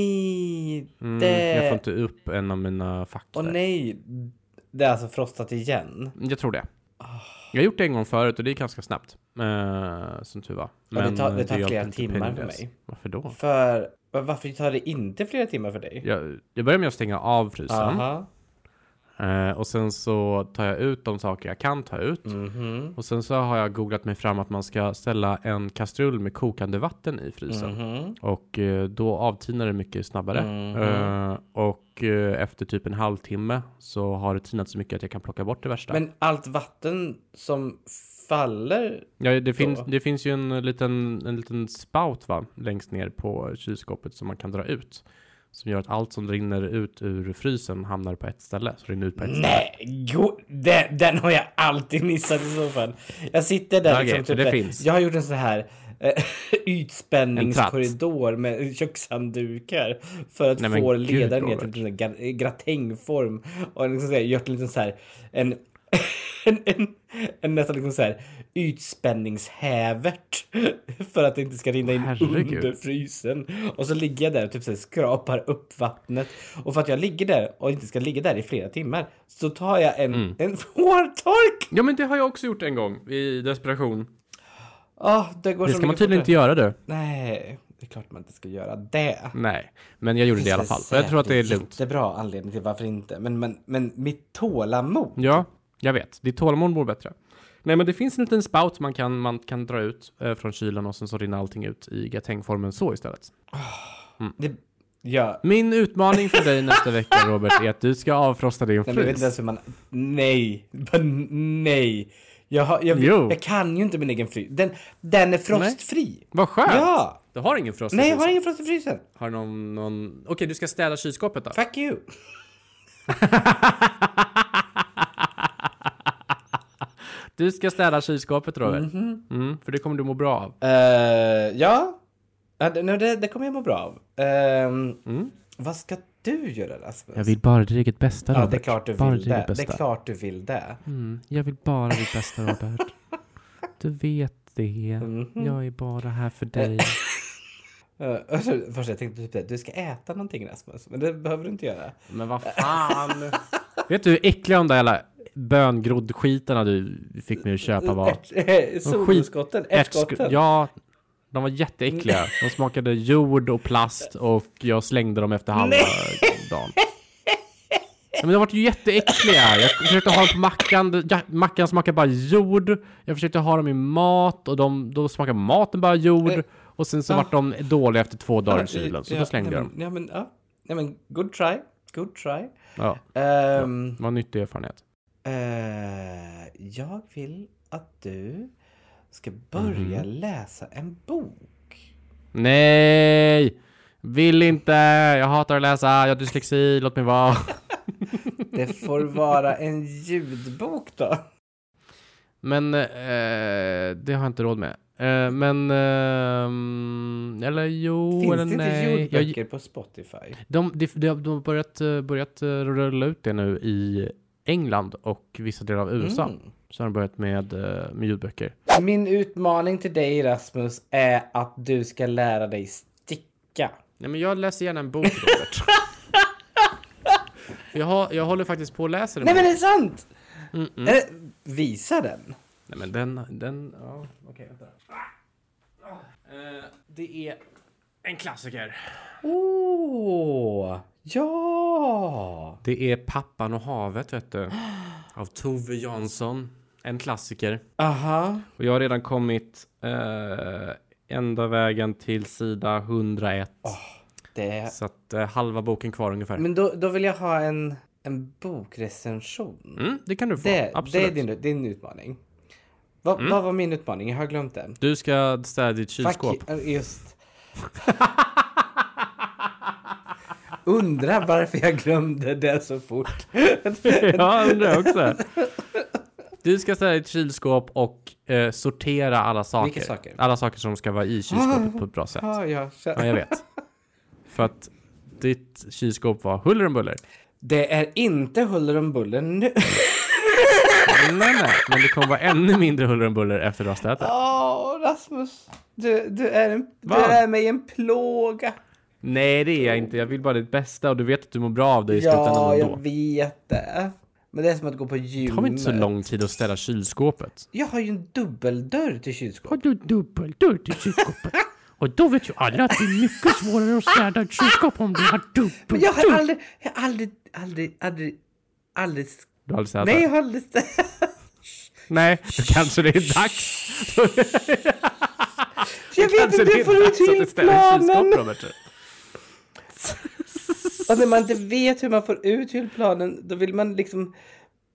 Speaker 1: nej!
Speaker 2: Mm, Jag får
Speaker 1: det...
Speaker 2: inte upp en av mina fack
Speaker 1: Åh
Speaker 2: där.
Speaker 1: nej! Det är alltså frostat igen.
Speaker 2: Jag tror det.
Speaker 1: Ah.
Speaker 2: Jag har gjort det en gång förut och det gick ganska snabbt. Eh, som tur var.
Speaker 1: Ja, det tar- det
Speaker 2: eh,
Speaker 1: tar
Speaker 2: hjälpte
Speaker 1: flera
Speaker 2: inte
Speaker 1: timmar för
Speaker 2: Pennyless.
Speaker 1: mig.
Speaker 2: Varför då?
Speaker 1: För va- varför tar det inte flera timmar för dig?
Speaker 2: Jag, jag börjar med att stänga av frysen.
Speaker 1: Aha.
Speaker 2: Eh, och sen så tar jag ut de saker jag kan ta ut.
Speaker 1: Mhm.
Speaker 2: Och sen så har jag googlat mig fram att man ska ställa en kastrull med kokande vatten i frysen.
Speaker 1: Mhm.
Speaker 2: Och eh, då avtinar det mycket snabbare.
Speaker 1: Mhm.
Speaker 2: Eh, och eh, efter typ en halvtimme så har det tinat så mycket att jag kan plocka bort det värsta.
Speaker 1: Men allt vatten som faller...
Speaker 2: ja, det, finns,
Speaker 1: då?
Speaker 2: det finns ju en liten, en liten spout va, längst ner på kylskåpet som man kan dra ut. Som gör att allt som rinner ut ur frysen hamnar på ett ställe. Så rinner ut på ett ställe.
Speaker 1: Nej, go- den, den har jag alltid missat i så fall. Jag sitter där
Speaker 2: Okej,
Speaker 1: liksom...
Speaker 2: så det
Speaker 1: där.
Speaker 2: finns.
Speaker 1: Jag har gjort en sån här eh, ytspänningskorridor med kökshanddukar för att
Speaker 2: Nej, men
Speaker 1: få
Speaker 2: gud,
Speaker 1: leda ner till
Speaker 2: Robert.
Speaker 1: en sån där gra- gratängform. Och liksom så här, gjort en liten så här... En, en, en, en nästan liksom så här ytspänningshävert för att det inte ska rinna in
Speaker 2: Herregud.
Speaker 1: under frysen. Och så ligger jag där och typ så här skrapar upp vattnet. Och för att jag ligger där och inte ska ligga där i flera timmar så tar jag en,
Speaker 2: Mm.
Speaker 1: en hårtork.
Speaker 2: Ja men det har jag också gjort en gång i desperation.
Speaker 1: Ah, det går
Speaker 2: Det
Speaker 1: så
Speaker 2: ska man
Speaker 1: mycket
Speaker 2: tydligen
Speaker 1: fortare.
Speaker 2: inte göra du.
Speaker 1: Nej, det är klart man inte ska göra det.
Speaker 2: Nej, men jag gjorde det i alla fall. Och jag tror att det är lugnt.
Speaker 1: Det är bra anledning till varför inte. Men, men, men mitt tålamod.
Speaker 2: Ja, jag vet. Ditt tålamod mår bättre. Nej, men det finns en liten spout man kan, man kan dra ut eh, från kylen och sen så rinner allting ut i gratängformen så istället.
Speaker 1: Det, ja,
Speaker 2: Min utmaning för dig nästa vecka, Robert, är att du ska avfrosta din
Speaker 1: Nej, men jag vet inte
Speaker 2: frys.
Speaker 1: ens hur man... Nej! Bara Nej! Jag, har, jag,
Speaker 2: Jo.
Speaker 1: jag kan ju inte min egen frys. Den, den är frostfri.
Speaker 2: Vad skönt!
Speaker 1: Ja!
Speaker 2: Du har ingen frost i
Speaker 1: Nej, jag har
Speaker 2: frysen.
Speaker 1: ingen frost i frysen.
Speaker 2: Har någon, någon... Okej, du ska städa kylskåpet då?
Speaker 1: Fuck you!
Speaker 2: Du ska städa kylskåpet, Robert. Mm, för det kommer du må bra av.
Speaker 1: Eh, ja. Ja, det- nej, det, det kommer jag må bra av. Ehm, Vad ska du göra Rasmus?
Speaker 2: Mm. Jag vill bara ditt eget bästa, Robert.
Speaker 1: ja, det är klart du
Speaker 2: bara
Speaker 1: vill
Speaker 2: ditt
Speaker 1: det.
Speaker 2: eget
Speaker 1: Det
Speaker 2: bästa.
Speaker 1: är klart du vill det.
Speaker 2: Mm, jag vill bara ditt bästa Robert. Du vet det. Jag är bara här för dig.
Speaker 1: Eh, alltså, först jag tänkte typ det, du ska äta någonting Rasmus, men det behöver du inte göra.
Speaker 2: Men vad fan! Vet du hur äckliga de där jävla böngroddskitarna du fick mig att köpa var?
Speaker 1: Ärt- Solskotten, ärtskotten.
Speaker 2: Ärtsk- Ja, de var jätteäckliga. De smakade jord och plast och jag slängde dem efter halva dagen. Ja, men de var ju jätteäckliga. Jag försökte ha dem på mackan. Ja, mackan smakade bara jord. Jag försökte ha dem i mat och de, då smakade maten bara jord. Och sen så
Speaker 1: Ja.
Speaker 2: vart de dåliga efter två dagar i kylen. Så då slängde jag
Speaker 1: Ah, ja, mm.
Speaker 2: dem.
Speaker 1: Ja, men, ja. ja, men good try. Good try.
Speaker 2: Ja,
Speaker 1: Ehm,
Speaker 2: det var en nyttig erfarenhet.
Speaker 1: eh, jag vill att du ska börja
Speaker 2: Mhm.
Speaker 1: läsa en bok.
Speaker 2: Nej! Vill inte! Jag hatar att läsa. Jag har dyslexi. Låt mig vara.
Speaker 1: Det får vara en ljudbok då.
Speaker 2: Men eh, det har jag inte råd med. Eh, men... ehm, eller jo,
Speaker 1: Finns
Speaker 2: eller
Speaker 1: det inte
Speaker 2: nej. Jag,
Speaker 1: ljudböcker på Spotify?
Speaker 2: de, de, de, de har börjat, eh, börjat eh, rulla ut det nu i England och vissa delar av USA.
Speaker 1: Mm.
Speaker 2: Så har de börjat med, eh, med ljudböcker.
Speaker 1: Min utmaning till dig Rasmus är att du ska lära dig sticka.
Speaker 2: Nej, men jag läser gärna en bok, Robert. jag, har, jag håller faktiskt på att läsa den.
Speaker 1: Nej men det är sant! Eh, visa den.
Speaker 2: Nej men den, den, ja, okej vänta. Ah. Eh, det är en klassiker.
Speaker 1: Åh, ja!
Speaker 2: Det är Pappan och havet vet du. Av Tove Jansson. En klassiker.
Speaker 1: Aha.
Speaker 2: Och jag har redan kommit eh, ända vägen till sida 101.
Speaker 1: Det.
Speaker 2: Så att eh, halva boken kvar ungefär.
Speaker 1: Men då, då vill jag ha en, en bokrecension.
Speaker 2: Mm, det kan du få,
Speaker 1: Det, det
Speaker 2: absolut.
Speaker 1: är din, din utmaning. Va, Vad var min utmaning? Jag har glömt den.
Speaker 2: Du ska städa ditt
Speaker 1: Fuck
Speaker 2: kylskåp.
Speaker 1: you. Just. Undrar varför jag glömde det så fort.
Speaker 2: ja, jag undrar också. Du ska ställa ditt kylskåp och eh, sortera alla saker.
Speaker 1: Vilka saker?
Speaker 2: Alla saker som ska vara i kylskåpet på ett bra sätt.
Speaker 1: Ja, ja, så-
Speaker 2: Ja, jag vet. För att ditt kylskåp var huller om buller.
Speaker 1: Det är inte huller om buller nu.
Speaker 2: Nej, nej, men det kommer vara ännu mindre huller om buller efter att du har ätit.
Speaker 1: Åh, Rasmus. Du, du, är en, du
Speaker 2: Va?
Speaker 1: är mig en plåga.
Speaker 2: Nej, det är jag inte. Jag vill bara ditt bästa och du vet att du mår bra av det i
Speaker 1: Ja, jag
Speaker 2: slutändan ändå.
Speaker 1: vet det. Men det är som att gå på gymmet.
Speaker 2: Det kommer inte så lång tid att ställa kylskåpet.
Speaker 1: Jag har ju en dubbeldörr till kylskåpet.
Speaker 2: du dubbeldörr till kylskåpet? Och då vet ju alla att det är mycket svårare att städa ett kylskåp om du har
Speaker 1: Men jag
Speaker 2: dubbeldörr.
Speaker 1: har aldrig, jag har aldrig, aldrig, aldrig, aldrig...
Speaker 2: Du har aldrig städat?
Speaker 1: Nej,
Speaker 2: Nej.
Speaker 1: jag har aldrig...
Speaker 2: Nej, då kanske det är dags.
Speaker 1: Jag vet
Speaker 2: Kanske
Speaker 1: inte,
Speaker 2: det
Speaker 1: jag får
Speaker 2: är
Speaker 1: ut
Speaker 2: dags att du
Speaker 1: till
Speaker 2: ställer ett
Speaker 1: planen.
Speaker 2: kylskåp, Robert.
Speaker 1: Och Alltså, när man inte vet hur man får ut hyllplanen då vill man liksom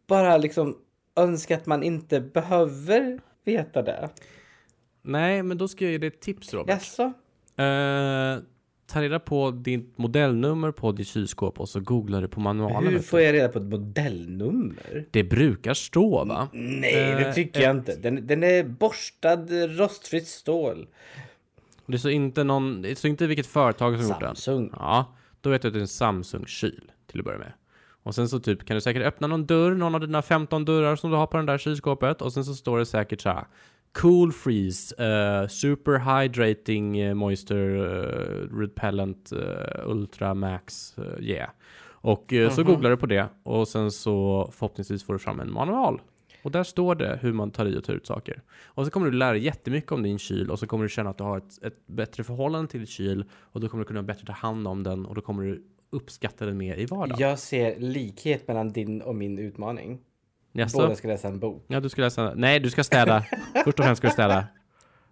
Speaker 1: bara liksom önska att man inte behöver veta det.
Speaker 2: Nej, men då ska jag ge dig ett tips, Robert.
Speaker 1: Jaså?
Speaker 2: Eh, ta reda på ditt modellnummer på ditt kylskåp och så googlar du på manualen.
Speaker 1: Hur
Speaker 2: vet
Speaker 1: får
Speaker 2: du.
Speaker 1: jag reda på ett modellnummer?
Speaker 2: Det brukar stå va?
Speaker 1: Nej, det
Speaker 2: Eh,
Speaker 1: tycker jag inte. Den, den är borstad rostfritt stål.
Speaker 2: Det står inte, någon, det står inte vilket företag som gjort den.
Speaker 1: Samsung.
Speaker 2: Ja, då vet du att det är en Samsung-kyl till att börja med. Och sen så typ kan du säkert öppna någon dörr, någon av dina 15 dörrar som du har på den där kylskåpet. Och sen så står det säkert så här. Cool freeze, eh, super hydrating eh, moisture eh, repellent eh, ultra max eh, yeah. Och eh, så googlar du på det och sen så förhoppningsvis får du fram en manual. Och där står det hur man tar i och tar ut saker. Och så kommer du lära dig jättemycket om din kyl och så kommer du känna att du har ett, ett bättre förhållande till din kyl och då kommer du kunna bättre ta hand om den och då kommer du uppskatta den mer i vardagen.
Speaker 1: Jag ser likhet mellan din och min utmaning.
Speaker 2: Jaså?
Speaker 1: Båda ska läsa en bok.
Speaker 2: Ja, du ska läsa. Nej, du ska städa. Först och främst ska du städa.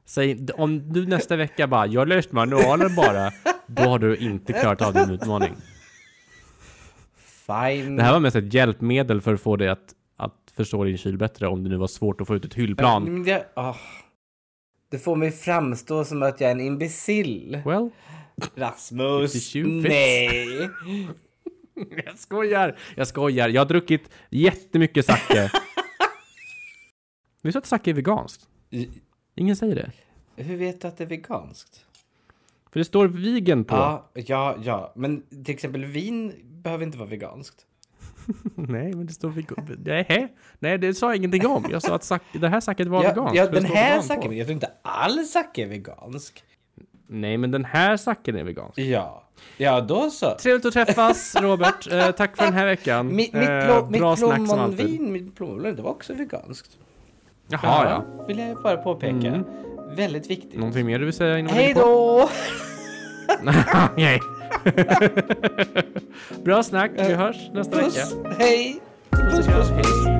Speaker 2: Säg, om du nästa vecka bara, jag har löst manualen bara, då har du inte klarat av din utmaning.
Speaker 1: Fine.
Speaker 2: Det här var mest ett hjälpmedel för att få dig att, att förstå din kyl bättre om det nu var svårt att få ut ett hyllplan.
Speaker 1: Men det, ah. det får mig framstå som att jag är en imbecill.
Speaker 2: Well,
Speaker 1: Rasmus!
Speaker 2: It's you, Fitz.
Speaker 1: Nej!
Speaker 2: jag skojar! Jag skojar. Jag har druckit jättemycket sake. Visst att sake är veganskt?
Speaker 1: I-
Speaker 2: Ingen säger det.
Speaker 1: Hur vet du att det är veganskt?
Speaker 2: För det står vegan på.
Speaker 1: Ja, ja, ja. Men till exempel vin behöver inte vara veganskt.
Speaker 2: Nej, men det står vegan. Nej, nej, det sa jag ingenting om. Jag sa att sak- det här saket var
Speaker 1: Ja,
Speaker 2: veganskt.
Speaker 1: ja
Speaker 2: för det
Speaker 1: den
Speaker 2: står
Speaker 1: här
Speaker 2: vegan på.
Speaker 1: saken, jag tror inte alls sake är vegansk.
Speaker 2: Nej, men den här sacken är vegansk.
Speaker 1: Ja, ja då så.
Speaker 2: Trevligt att träffas, Robert. Eh, tack för den här veckan.
Speaker 1: Mi, mitt
Speaker 2: Eh,
Speaker 1: plå,
Speaker 2: bra
Speaker 1: mitt
Speaker 2: snack som alltid.
Speaker 1: plommonvin, mitt plommonvin, det var också veganskt.
Speaker 2: Jaha, ja. Mm.
Speaker 1: Vill jag bara påpeka. Väldigt viktigt.
Speaker 2: Någonting mer du vill säga innan vi
Speaker 1: Hej
Speaker 2: går på?
Speaker 1: då!
Speaker 2: Nej. Bra snack. Vi hörs nästa vecka.
Speaker 1: Puss! Hej! Puss, puss, puss.